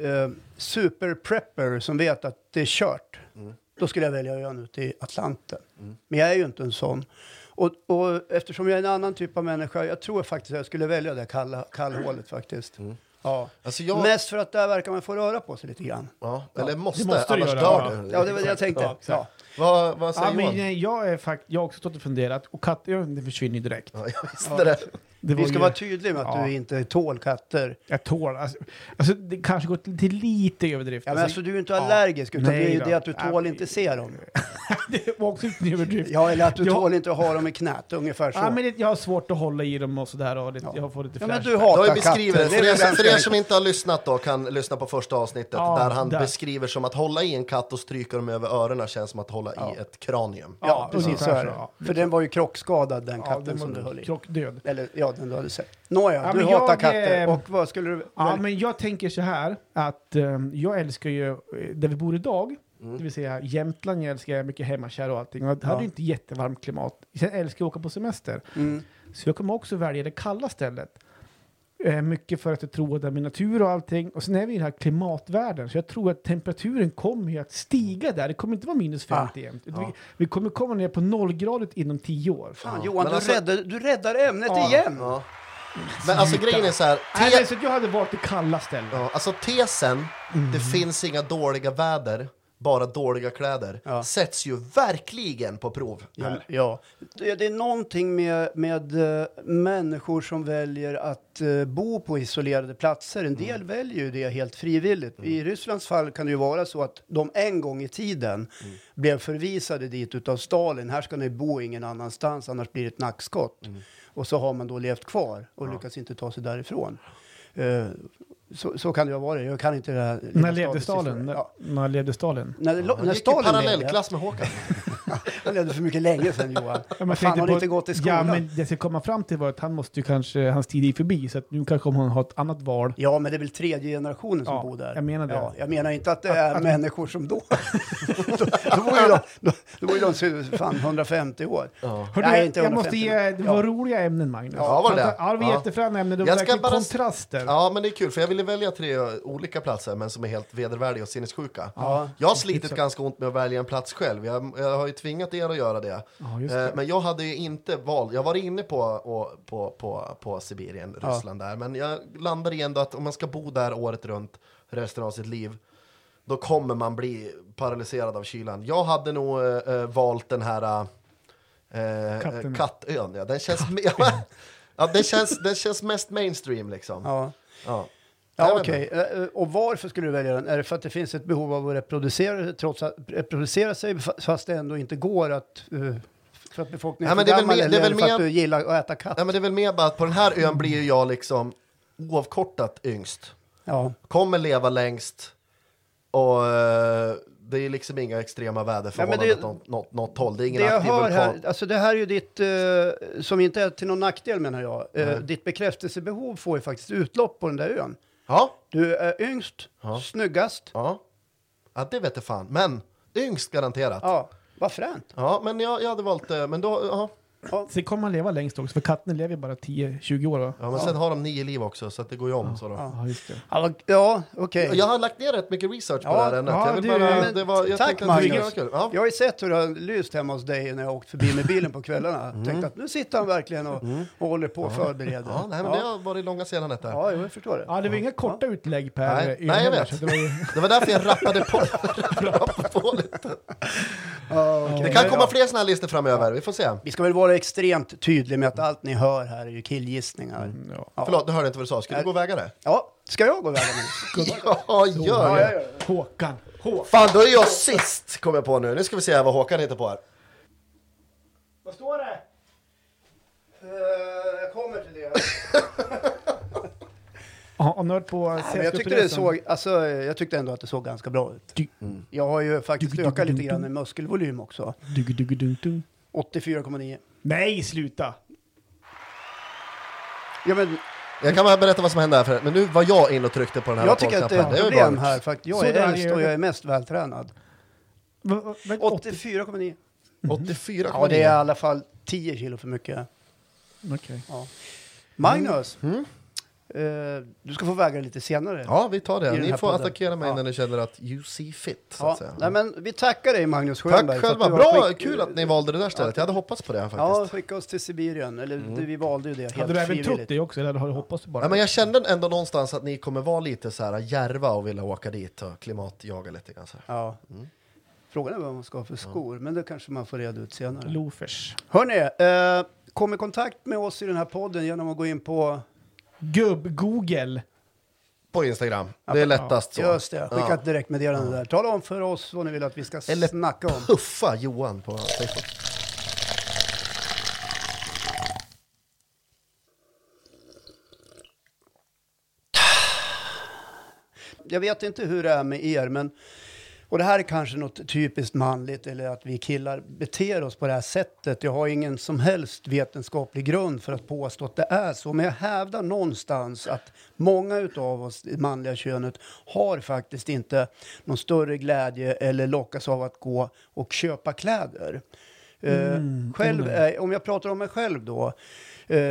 C: eh, superprepper som vet att det är kört,
B: Mm.
C: då skulle jag välja ön ute i Atlanten. Men jag är ju inte en sån. Och, och eftersom jag är en annan typ av människa, jag tror faktiskt att jag skulle välja det kalla, kallhålet faktiskt.
B: Mm.
C: Ja.
A: Alltså jag...
C: Mest för att där verkar man få röra på sig lite grann.
A: ja, eller måste,
B: det måste du
A: annars
B: göra,
A: dör
B: ja.
A: du.
C: Ja, det var det jag tänkte.
B: Ja,
C: Ja,
B: exakt.
A: Vad, vad säger
B: Ja, men,
A: Johan?
B: eh, jag, är fakt- jag har också stått och funderat och kattön den försvinner ju direkt.
A: Ja, jag visste det.
B: Det
C: Vi
B: var
C: ska
B: ju-
C: vara tydliga med att
B: Ja.
C: du inte tål katter.
B: Jag tål, alltså, alltså det kanske gått till lite överdrift.
C: Ja, men alltså, du är ju inte
B: ja.
C: allergisk, utan
B: Nej
C: det är ju
B: då.
C: det att du
B: Ja,
C: tål
B: men-
C: inte se dem.
B: det var också en överdrift.
C: Ja, eller att du
B: Ja.
C: tål inte att ha dem i knät, ungefär så.
B: Ja, men det, jag har svårt att hålla i dem och sådär. Och det,
C: Ja.
B: Jag får lite
C: Ja, men
B: flashback.
C: du
A: Då har jag
C: hatar
A: beskrivit
C: katter.
A: det. eh, För er,
C: är
A: för er
C: väl
A: som inte har lyssnat då kan lyssna på första avsnittet
B: Ja,
A: där han
B: där.
A: beskriver som att hålla i en katt och stryka dem över öronen känns som att hålla i ett kranium.
C: Ja, precis så
B: ungefär
C: är
B: så,
C: det.
B: ja.
C: För den var ju krockskadad, den katten
B: ja, det
C: som
B: var
C: du höll i.
B: Krockdöd.
C: Eller ja, den du hade sett. Nåja,
B: Ja,
C: du
B: men
C: hatar
B: jag,
C: katter.
B: eh,
C: Och vad skulle du...
B: Ja,
C: väl-
B: men jag tänker så här att eh, jag älskar ju eh, där vi bor idag, det vill säga Jämtland, jag älskar mycket hemmakär och allting. Och jag hade
C: Mm. Ja.
B: ju inte jättevarmt klimat. Sen älskar jag att åka på semester.
C: Mm.
B: Så jag kommer också välja det kalla stället. Eh, mycket för att jag tror att det är med natur och allting. Och sen är vi i den här klimatvärlden, så jag tror att temperaturen kommer ju att stiga där. Det kommer inte vara minus
C: Ah.
B: 50 jämt. Vi, vi kommer komma ner på nollgradigt inom 10 år.
C: Fan,
A: Ja.
C: Johan,
A: Men
C: du,
A: alltså-
C: räddar, du räddar ämnet
B: Ja.
C: igen!
A: Ja. Men alltså grejen är så här.
B: Nej,
A: Te,
B: men så att jag hade valt det kalla stället.
A: ja, alltså tesen,
B: Mhm.
A: det finns inga dåliga väder, bara dåliga kläder,
C: Ja.
A: sätts ju verkligen på prov.
C: Ja, ja. Det, det är någonting med, med eh, människor som väljer att eh, bo på isolerade platser. En del väljer ju det helt frivilligt. I Rysslands fall kan det ju vara så att de en gång i tiden blev förvisade dit utav Stalin. Här ska ni bo ingen annanstans, annars blir det ett nackskott. Och så har man då levt kvar och lyckas inte ta sig därifrån. Eh, så, så kan det ju vara. Jag kan inte det här.
B: När levde Stalin?
C: historia.
B: När,
C: Ja.
B: när levde Stalin?
C: När,
A: Han
C: när
A: gick i
C: Stalin levde,
A: parallellklass med Håkan.
C: han levde för mycket länge sedan Johan.
B: Ja,
C: Fan, har ni inte gått i
B: Ja,
C: skolan?
B: men det ska komma fram till var att han måste ju kanske, hans tid är förbi, så att nu kanske kommer han ha ett annat val.
C: Ja, men det är väl tredje generationen som
B: Ja,
C: bor där.
B: jag menar det.
C: Ja, jag menar inte att det är människor som då. då, då var ju de, då, då var ju de så- fan 150 år.
A: Ja.
B: Hördu,
C: Nej,
B: jag-
C: inte
B: jag måste
C: 150.
B: ge, det var roliga ämnen Magnus.
A: Ja, var det
B: Fanta- Ja, det var
A: Ja.
B: jättefräna ämnen, det var
A: Jag ska
B: verkligen
A: bara-
B: kontraster.
A: Ja, men det är kul, för jag ville välja tre olika platser, men som är helt vedervärdiga och sinnessjuka.
C: Ja.
A: Jag har slitit ganska ont med att välja en plats själv. Jag, jag har ju tvingat er att göra det.
B: Ja, just det.
A: Eh, Men jag hade ju inte valt. Jag var inne på, och, på, på, på Sibirien, Ryssland där. Men jag landade i ändå att om man ska bo där året runt resten av sitt liv, då kommer man bli paralyserad av kylan. Jag hade nog eh, eh, valt den här eh,
B: Katten.
A: eh, Kattön. Ja. Den, känns, ja, ja, den, känns, den känns mest mainstream liksom. Ja.
C: Ja,
A: Ja.
C: ja
A: Jag vet
C: okej. Eh, eh, Och varför skulle du välja den? Är det för att det finns ett behov av att reproducera, trots att, reproducera sig fa- fast det ändå inte går att... eh, För att befolkningen
A: Ja,
C: är
A: men
C: för
A: det är väl mer- det
C: gammal
A: är
C: eller är det
A: väl
C: för att
A: mer-
C: du gillar att äta katt?
A: Nej, men det är väl mer bara att på den här ön blir ju jag liksom oavkortat yngst.
C: Ja,
A: Kommer leva längst och eh, det är liksom inga extrema väderförhållanden
C: Nej,
A: åt
C: men det-
A: något, något, något håll. Det är ingen
C: det jag
A: aktiv
C: hör
A: vulkan.
C: här, alltså det här är ju ditt, eh, som inte är till någon nackdel menar jag, eh,
A: Nej.
C: ditt bekräftelsebehov får ju faktiskt utlopp på den där ön.
A: Ja,
C: Du är yngst,
A: Ja.
C: snyggast.
A: ja. ja, det vet jag fan. Men yngst garanterat. Ja,
C: Ja, vad fränt.
A: men jag, jag hade valt... eh, Men då, ja.
C: Ja.
B: Sen kommer man leva längst också, för katten lever ju bara 10-20 år. Va?
A: Ja, men sen har de nio liv också, så att det går ju om. Så då.
C: Ja.
B: Ja, just det.
C: Ja, vad- Alltså, Ja, okej.
A: Jag har lagt ner rätt mycket research på
C: Ja,
A: det här ämnet.
B: ja,
A: jag vill
B: det-
A: bara,
B: men-
A: det var, jag
C: tack,
A: tänkte att det skulle
C: Magnus.
A: vara kul. Ja.
C: Jag har ju sett hur det har lyst hemma hos dig när jag har åkt förbi med bilen på kvällarna. Tänkte att nu sitter han verkligen och, och håller på och förbereder.
A: Mm. Ja, nej, men det har varit långa sena nätter.
C: ja jo, jag förstår det.
B: Ja, det var inga korta utlägg per
A: Nej,
B: eh,
A: nej, jag
B: övning,
A: vet.
B: så Det var ju...
A: Det var därför jag rappade på, rappade på lite. Det kan komma fler såna här listor framöver. Vi får se.
C: Vi ska väl vara extremt tydliga med att allt ni hör här är ju killgissningar.
A: Mm,
B: ja.
C: Ja.
A: Förlåt, nu hörde jag inte vad du sa. Skulle du gå vägare?
C: Ja, ska jag gå vägen nu?
A: Ja, gör det.
B: Håkan. Håkan.
A: Fan, då är jag sist, kom jag på nu. Nu ska vi se vad Håkan hittar på här.
B: Vad står det?
C: Eh, jag kommer till det.
B: Ja, om du har hört på
C: Men jag, tyckte det såg, alltså, jag tyckte ändå att det såg ganska bra ut. Jag har ju faktiskt ökat lite grann i muskelvolym också.
B: Dugg, dugg, dugg, dugg.
C: 84,9.
B: Nej, sluta!
C: Ja, men
A: Jag kan bara berätta vad som hände här, för, men nu var jag in och tryckte på den här
C: jag tycker att det är
A: rapportknappen.
C: ett
A: var ju
C: problem
A: bra.
C: här. Faktiskt.
B: Så
C: Jag är
B: där är
C: äldst
B: jag.
C: och jag är mest vältränad.
B: Va- va- va-
C: 84,9.
A: 84
C: Ja, det är i alla fall 10 kilo för mycket.
B: Okej.
C: Ja. Magnus, eh, du ska få väga lite senare.
A: Mm. Ja, vi tar det.
C: I den
A: Ni
C: här
A: får
C: podden.
A: attackera mig
C: Ja.
A: när ni känner att you see fit, så
C: Ja,
A: att säga.
C: Nej, men vi tackar dig Magnus
A: Tack
C: Schönberg. för att
A: själva.
C: du har
A: Bra,
C: skick-
A: kul att ni valde det där stället. Jag hade hoppats på det här, faktiskt. Mm.
C: Ja, skicka oss till Sibirien. Eller du, vi valde ju det helt
B: Hade du även trott
C: frivilligt.
B: det också, eller hade du hoppats bara?
A: Ja, men jag kände ändå någonstans att ni kommer vara lite så här järva och vilja åka dit och klimatjaga lite grann. Så här.
C: Ja.
A: Mm.
C: Frågan är vad man ska ha för skor, men det kanske man får reda ut senare.
B: Lofers.
C: Hörni, eh, kom i kontakt med oss i den här podden genom att gå in på...
B: Gubb-Google.
A: På Instagram. Det är lättast så.
C: Just det, skicka
A: Ja.
C: ett direktmeddelande där. Tala om för oss vad ni vill att vi ska
A: Eller
C: snacka om.
A: Puffa Johan på Facebook.
C: Jag vet inte hur det är med er, men... Och det här är kanske något typiskt manligt, eller att vi killar beter oss på det här sättet. Jag har ingen som helst vetenskaplig grund för att påstå att det är så, men jag hävdar någonstans att många utav oss, i manliga könet, har faktiskt inte någon större glädje eller lockas av att gå och köpa kläder. Eh, själv, är- om jag pratar om mig själv då, eh,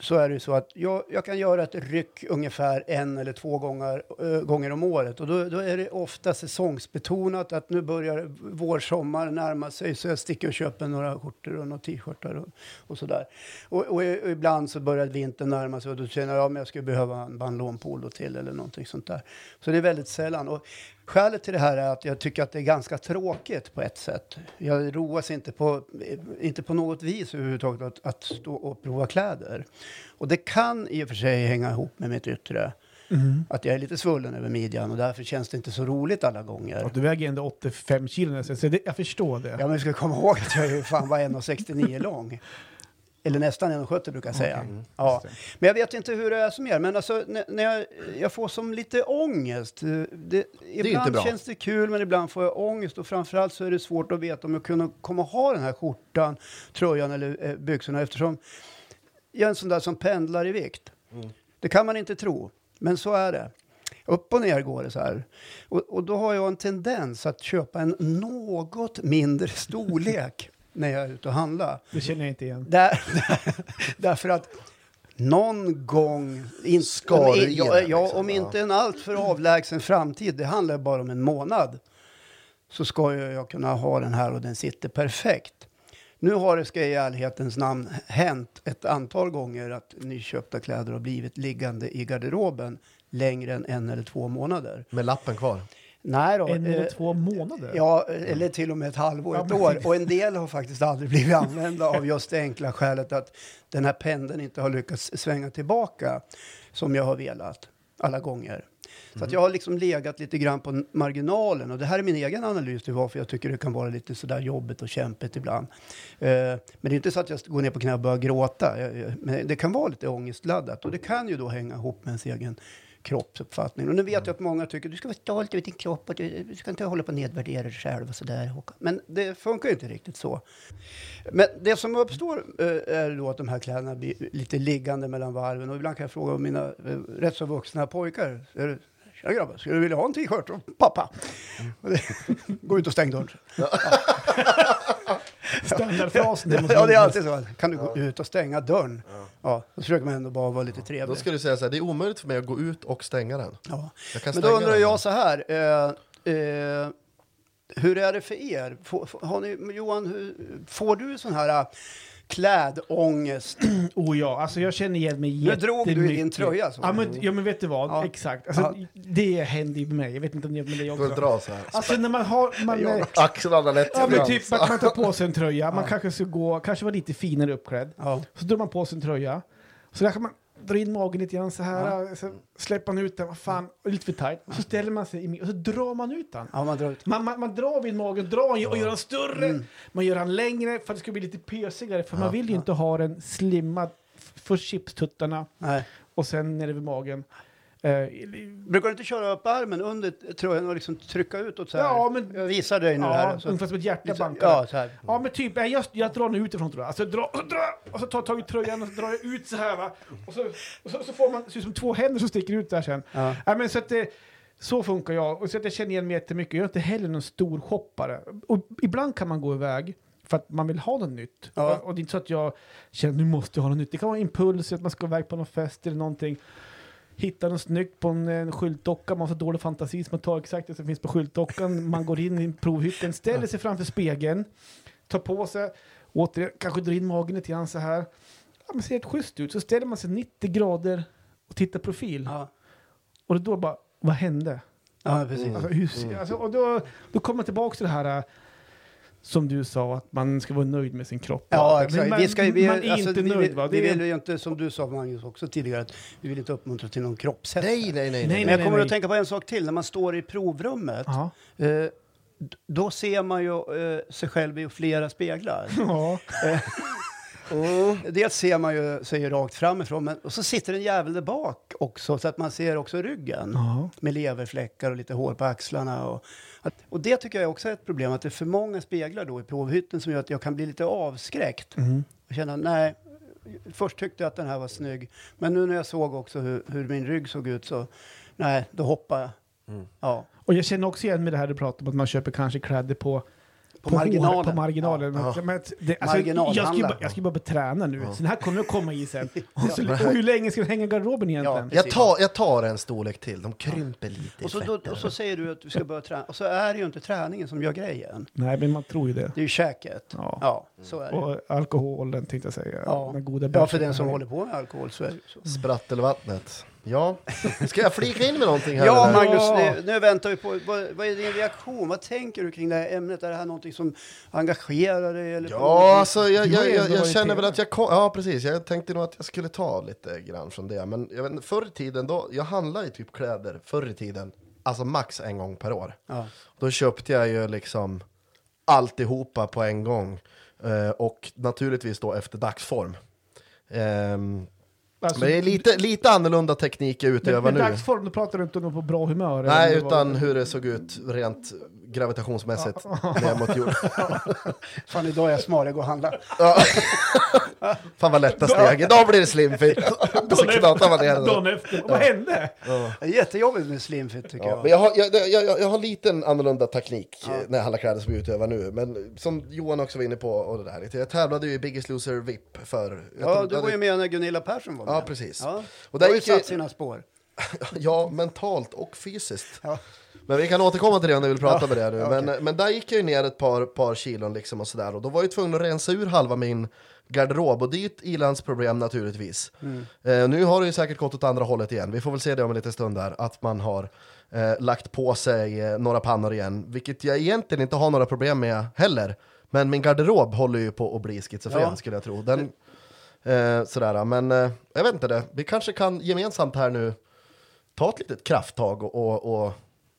C: så är det ju så att jag, jag kan göra ett ryck ungefär en eller två gånger, eh, gånger om året. Och då, då är det ofta säsongsbetonat att nu börjar vår sommar närma sig så jag sticker och köper några skjortor och några t-shirtar och, och sådär. Och, och, i- och ibland så börjar vintern närma sig och då känner jag att jag skulle behöva en bandonpolo till eller någonting sånt där. Så det är väldigt sällan. Och skälet till det här är att jag tycker att det är ganska tråkigt på ett sätt. Jag roas inte på, inte på något vis överhuvudtaget att, att stå och prova kläder. Och det kan i och för sig hänga ihop med mitt yttre. Att jag är lite svullen över midjan och därför känns det inte så roligt alla gånger.
B: Ja, du väger ändå 85 kilo nästan, så det, jag förstår det.
C: Ja, men vi ska komma ihåg att jag är ju fan bara 1,69 lång. Eller nästan 1,70 brukar jag säga. Ja. Men jag vet inte hur det är som er. Men alltså, när, när jag, jag får som lite ångest. Eh, Det, ibland
A: inte bra.
C: känns det kul, men ibland får jag ångest. Och framförallt så är det svårt att veta om jag kunna, kommer ha den här skjortan, tröjan eller eh, byxorna eftersom jag är en sån där som pendlar i vikt. Det kan man inte tro, men så är det. Upp och ner går det så här. Och, och då har jag en tendens att köpa en något mindre storlek när jag är ute och handlar.
B: Det känner jag inte igen.
C: Där, därför att någon gång, in,
A: Ska
C: om,
A: du
C: in,
A: ge
C: ja,
A: den,
C: ja,
A: liksom,
C: om
A: ja.
C: inte en alltför avlägsen framtid, det handlar bara om en månad, så ska ju jag kunna ha den här och den sitter perfekt. Nu har det, ska i ärlighetens namn, hänt ett antal gånger att nyköpta kläder har blivit liggande i garderoben längre än en eller två månader.
A: Med lappen kvar.
C: Nej då.
B: En
C: eh,
B: eller två månader?
C: Ja, eller till och med ett halvår, ett år. Och en del har faktiskt aldrig blivit använda av just det enkla skälet att den här pendeln inte har lyckats svänga tillbaka som jag har velat alla gånger. Så att jag har liksom legat lite grann på marginalen och det här är min egen analys till varför jag tycker det kan vara lite sådär jobbigt och kämpigt ibland. Eh, men det är inte så att jag går ner på knä och börjar gråta. Jag, jag, men det kan vara lite ångestladdat och det kan ju då hänga ihop med ens egen kroppsuppfattning. Och nu vet jag att många tycker du ska vara stolt över din kropp och du, du ska inte hålla på och nedvärdera dig själv och sådär. Håkan. Men det funkar ju inte riktigt så. Men det som uppstår eh, är då att de här kläderna blir lite liggande mellan varven och ibland kan jag fråga mina eh, rätt så vuxna pojkar. Är du, Ja grabbar, skulle du vilja ha en t-shirt av pappa? Gå ut och stäng dörren.
B: Standardfrasen.
C: Ja, det är alltid så. Kan du gå ut och stänga dörren? Ja, då försöker man ändå bara vara lite
A: Då
C: trevlig.
A: skulle du säga så här, det är omöjligt för mig att gå ut och stänga den.
C: Ja.
A: Jag kan
C: Men då
A: stänga
C: undrar
A: den.
C: jag så här. Eh, eh, hur är det för er? Får, får- har ni, Johan, hur, får du sån här eh, klädångest?
B: Oh ja, alltså jag känner igen mig
C: Nu drog du i din
B: jättemycket.
C: tröja, så.
B: Ja men, ja, men vet du vad?
C: Ja.
B: Exakt. Alltså,
C: Ja.
B: Det händer ju med mig. Jag vet inte om det gör med dig
A: Går
B: också.
A: och drar så här.
B: Alltså när man har... Man, eh,
A: Axlarna lätt
B: ja, men
A: fram.
B: typ att man tar på sig en tröja. Man kanske ska gå, kanske vara lite finare uppklädd.
C: Ja.
B: Så drar man på sig en tröja. Så där kan man dra in magen lite grann så här. Så släpper man ut den, vad fan, och lite för tajt. Så ställer man sig i mi- och så drar man ut den.
C: ja, man drar ut.
B: Man, man, man drar vid magen, drar den och gör den större.
C: Mm.
B: Man gör den längre för att det ska bli lite pösigare. För man vill ju inte ha den slimmad. f- Först chipstuttarna
C: Nej.
B: och sen nere vid magen. Eh,
C: Brukar du inte köra upp armen under tröjan och liksom trycka utåt så här?
B: Ja, men-
C: Jag visar dig nu
B: ja,
C: här. Så, liksom-
B: ungefär som ett hjärta bankar.
C: ja, så här.
B: Ja men typ, jag, jag, jag drar nu utifrån tror jag. Alltså jag drar, och så drar jag, och så tar jag tag i tröjan och så drar jag ut så här va. Och så, och så, så får man, ser ut som två händer som sticker ut där sen.
C: Ja.
B: Ja, men så att det, så funkar jag. Och så att jag känner igen mig jättemycket. Jag är inte heller någon stor shoppare. Och ibland kan man gå iväg för att man vill ha något nytt.
C: Ja.
B: Och, och det är inte så att jag känner nu måste jag ha något nytt. Det kan vara impuls att man ska iväg på någon fest eller någonting. Hitta något snyggt på en, en skyltdocka, man har så dålig fantasi så man tar exakt det som finns på skyltdockan. Man går in i provhytten, ställer sig framför spegeln, tar på sig, återigen, kanske drar in magen lite grann så här. Ja, men ser helt schysst ut. Så ställer man sig 90 grader och tittar profil.
C: Ja.
B: Och då bara, vad hände?
C: ja, precis.
B: Alltså, hur,
C: Mm.
B: ser- alltså, och då, då kommer man tillbaka till det här äh, som du sa, att man ska vara nöjd med sin kropp.
C: Ja,
B: Men
C: exakt.
B: Man,
C: Vi ska, ju- vi,
B: man är
C: alltså,
B: inte
C: vi,
B: nöjd va? Det
C: Vi
B: är
C: vill ju inte, som du sa Magnus också tidigare, att vi vill inte uppmuntra till någon kroppshets.
A: Nej, nej, nej.
B: Nej,
A: nej.
C: Men jag
B: nej,
C: kommer
B: nej.
C: att tänka på en sak till. När man står i provrummet,
B: Ja.
C: eh, d- då ser man ju eh, sig själv i flera speglar.
B: ja. Mm.
C: Dels ser man ju sig rakt framifrån, men och så sitter en jävel där bak också, så att man ser också ryggen.
B: Ja.
C: Med leverfläckar och lite hår på axlarna. Och, att, och det tycker jag också är ett problem, att det är för många speglar då i provhytten som gör att jag kan bli lite avskräckt.
B: Mm.
C: Och känna, nej, först tyckte jag att den här var snygg, men nu när jag såg också hur, hur min rygg såg ut så, nej, då hoppar jag. Ja.
B: Och jag känner också igen med det här du pratar om, att man köper kanske kläder på
C: På
B: hår-
C: marginalen.
B: På marginalen.
A: Ja.
B: Men, det, alltså,
C: Marginalhandlar.
B: jag, ska ju bara, jag ska ju bara träna nu, så det här kommer att komma i sen. Och, så, och hur länge ska det hänga i garderoben egentligen?
C: Ja.
A: Jag tar, jag tar en storlek till, de krymper lite.
C: Och, så,
A: i
C: då,
A: fetter.
C: och så säger du att du ska börja träna, och så är det ju inte träningen som gör grejen.
B: Nej, men man tror ju det.
C: Det är ju käket.
B: Ja.
C: Ja, så är det.
B: Och alkoholen tänkte jag säga.
C: Ja.
B: Den goda
C: ja, för
B: bärsen.
C: den som håller på med alkohol så är det ju så.
A: Sprattelvattnet. Ja, ska jag flika in med någonting här?
C: Ja,
A: eller?
C: Magnus,
B: Ja.
C: nu, nu väntar vi på... Vad, vad är din reaktion? Vad tänker du kring det här ämnet? Är det här någonting som engagerar dig? Eller på något
A: Ja,
C: vis?
A: alltså jag,
B: Du har
A: jag,
B: ju
A: jag,
B: ändå
A: jag
B: varit
A: känner väl
B: trevlig.
A: att jag kom, Ja, precis. Jag tänkte nog att jag skulle ta lite grann från det. Men jag vet, inte, förr i tiden, då, jag handlade ju typ kläder förr i tiden, alltså max en gång per år.
C: Ja.
A: Då köpte jag ju liksom alltihopa på en gång. Eh, och naturligtvis då efter dagsform. Ehm,
B: Alltså,
A: men det är lite, lite annorlunda teknik jag
B: men,
A: utövar
B: men
A: nu.
B: dagsform, då pratar du inte om att vara på bra humör? eller
A: Nej,
B: om det
A: utan
B: Var...
A: hur det såg ut rent gravitationsmässigt ner mot jorden.
C: Fan, idag är jag smal. Jag går och handlar.
A: Fan vad lätta steg, idag blir det slimfit. Och så knatar man ner den.
B: Dagen efter, vad hände?
C: Det är jättejobbigt med slimfit, tycker
A: Ja,
C: jag.
A: men jag, har, jag, jag, jag, jag har lite en annorlunda teknik eh, när jag handlar kläder som jag utövar nu. Men som Johan också var inne på, och det där, lite, jag tävlade ju i Biggest Loser VIP för... jag
C: Ja,
A: tror-
C: du var ju med när Gunilla Persson var med.
A: Ja, precis.
C: Ja.
A: Och
C: Och
A: där
C: där har ju
A: gick ju-
C: satt sina spår.
A: Ja, mentalt och fysiskt.
C: Ja.
A: Men vi kan återkomma till det om du vill prata med det nu. Men, men där gick jag ju ner ett par, par kilon liksom och sådär. Och då var jag ju tvungen att rensa ur halva min garderob. Och det är ju ett ilandsproblem naturligtvis.
C: Mm.
A: Eh, nu har det ju säkert gått åt andra hållet igen. Vi får väl se det om en liten stund där. Att man har eh, lagt på sig eh, några pannor igen. Vilket jag egentligen inte har några problem med heller. Men min garderob håller ju på att bli schizofren
C: Ja.
A: skulle jag tro. Den, eh, sådär, men eh, jag vet inte det. Vi kanske kan gemensamt här nu ta ett litet krafttag och, och, och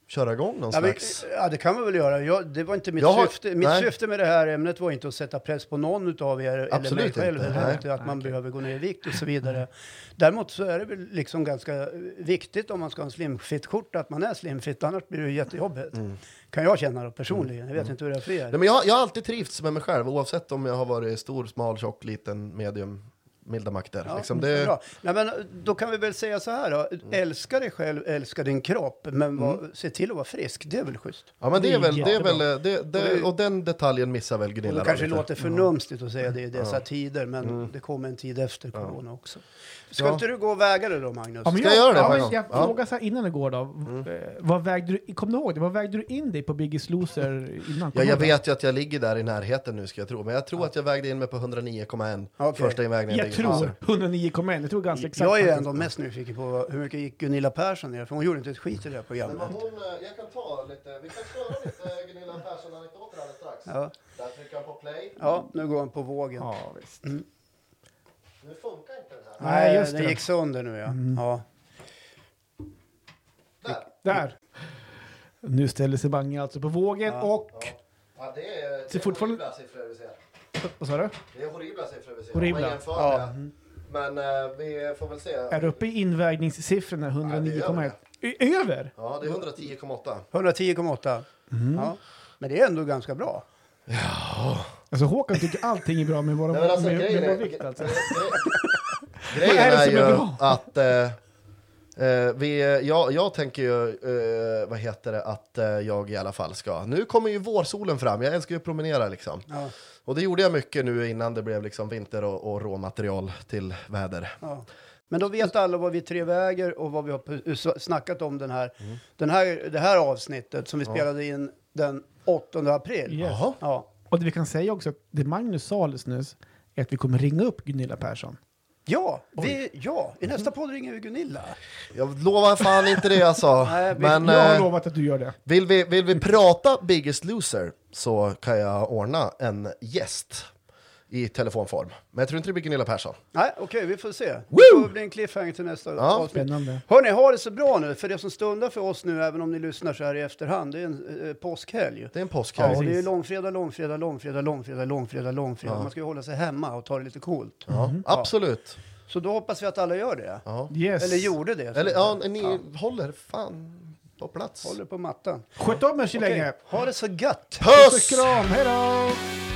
A: köra igång någon
C: Ja, men,
A: slags...
C: ja, det kan vi väl göra. Jag, det var inte mitt
A: Jag har-
C: syfte. Mitt
A: nej.
C: syfte med det här ämnet var inte att sätta press på någon av er eller mig
A: Absolut
C: själv.
A: inte,
C: Eller
A: nej.
C: inte att man behöver gå ner i vikt och så vidare. Däremot så är det väl liksom ganska viktigt om man ska ha en slimfit-skjorta att man är slimfit, annars blir det ju jättejobbigt.
A: Mm.
C: Kan jag känna då personligen. Jag vet inte hur det är för er.
A: Nej, men jag, jag har alltid trivts med mig själv oavsett om jag har varit stor, smal, tjock, liten, medium, milda makter.
C: Ja,
A: liksom
C: det...
A: det, Mm.
C: bra. Nej, men då kan vi väl säga så här då. Älska dig själv, älska din kropp, men var, se till att vara frisk. Det är väl schysst?
A: ja, men det är
B: Det är
A: väl, det är väl eh,
B: jättebra.
A: det, det, och den detaljen missar väl
C: Och
A: Gunilla.
C: det
A: då
C: kanske
A: lite.
C: låter förnumstigt att säga det i dessa tider, men det kommer en tid efter corona också. Ska
A: Mm. Ja.
C: inte du gå och väga dig då, Magnus?
B: men
A: Ska jag göra det på en
B: men
A: gång?
B: Jag
A: Ja. Mm.
B: frågade så här innan igår då. eh, Vad vägde du, kom du ihåg det? Vad vägde du in dig på Biggest Loser innan?
A: Ja,
B: Kommer
A: jag
B: du ihåg
A: vet ju att jag ligger där i närheten nu ska jag tro, men jag tror att jag vägde in mig på 109,1
C: Okej.
A: första
B: det?
A: invägningen.
B: Jag
A: till
B: tror
A: Gnosjö.
B: 109,1. Jag tror ganska exakt.
C: Jag är ju
B: faktiskt.
C: ändå mest nyfiken på hur mycket gick Gunilla Persson ner, för hon gjorde inte ett skit i det här
A: Men
C: programmet.
A: vad hon, eh, jag kan ta lite, vi kan köra lite Gunilla Persson-anekdoter alldeles strax.
C: Ja.
A: Där trycker han på play.
C: ja, nu går han på vågen.
B: Ja, visst.
A: Nu funkar inte den här.
B: Nej, just
C: den
B: det. Mm.
C: gick sönder nu ja. ja.
A: Där.
B: Där. Nu ställer sig Bange alltså på vågen och...
A: Ja, det är, det
B: är fortfarande-
A: horribla siffror vi ser.
B: Vad sa du?
A: Det är horribla siffror vi ser.
B: Horribla.
A: Om man jämför
C: Ja.
A: med. Men eh, vi får väl se.
B: Är du uppe i invägningssiffrorna
A: Nej,
B: 109,1? Ö- Över?
A: Ja, det är 110,8.
C: 110,8.
B: Mm.
C: Ja. Men det är ändå ganska bra.
B: Alltså Håkan tycker allting är bra med vår,
A: Nej, men alltså,
B: med, med
A: grejen är,
B: vår vikt alltså.
A: gre- grejen
B: Vad är det
A: är
B: som
A: ju
B: är bra?
A: att eh, eh, vi, jag, jag tänker ju, eh, vad heter det, att eh, jag i alla fall ska. Nu kommer ju vårsolen fram, jag älskar ju att promenera liksom.
C: Ja.
A: Och det gjorde jag mycket nu innan det blev liksom vinter och, och råmaterial till väder.
C: Ja. Men då vet alla vad vi tre väger och vad vi har pu- snackat om den här,
A: Mm.
C: den här, det här avsnittet som vi spelade in den 8 april.
B: Yes.
A: Jaha.
C: Ja.
B: Och det vi kan säga också, att det Magnus sa alldeles nyss, är att vi kommer ringa upp Gunilla Persson.
C: Ja, vi, ja, i nästa podd ringer vi Gunilla.
A: Jag lovar fan inte det alltså.
C: Nej, vi-
A: Men,
B: Jag har
A: eh,
B: lovat att du gör det.
A: Vill vi, vill vi prata Biggest Loser så kan jag ordna en gäst i telefonform. Men jag tror inte det blir Gunilla Persson.
C: Nej, okej, vi får se. Det får bli en cliffhanger till nästa
A: Ja.
C: avsnitt.
B: Spännande.
C: Hörni, ha det så bra nu, för det som stundar för oss nu, även om ni lyssnar så här i efterhand, det är en eh, påskhelg.
A: Det är en påskhelg.
C: Ja, och
A: Ja,
C: det är
B: precis.
C: långfredag, långfredag, långfredag, långfredag, långfredag, långfredag. Man ska ju hålla sig hemma och ta det lite coolt.
A: Absolut.
C: Så då hoppas vi att alla gör det.
A: Ja.
B: Yes.
C: Eller gjorde det. så
A: Eller
C: att
A: ja,
C: säga.
A: ni håller fan på plats.
C: Håller på mattan.
B: Sköt om er så
C: Okej,
B: länge.
C: ha det så gött!
A: Puss!
B: Puss och kram, hej då!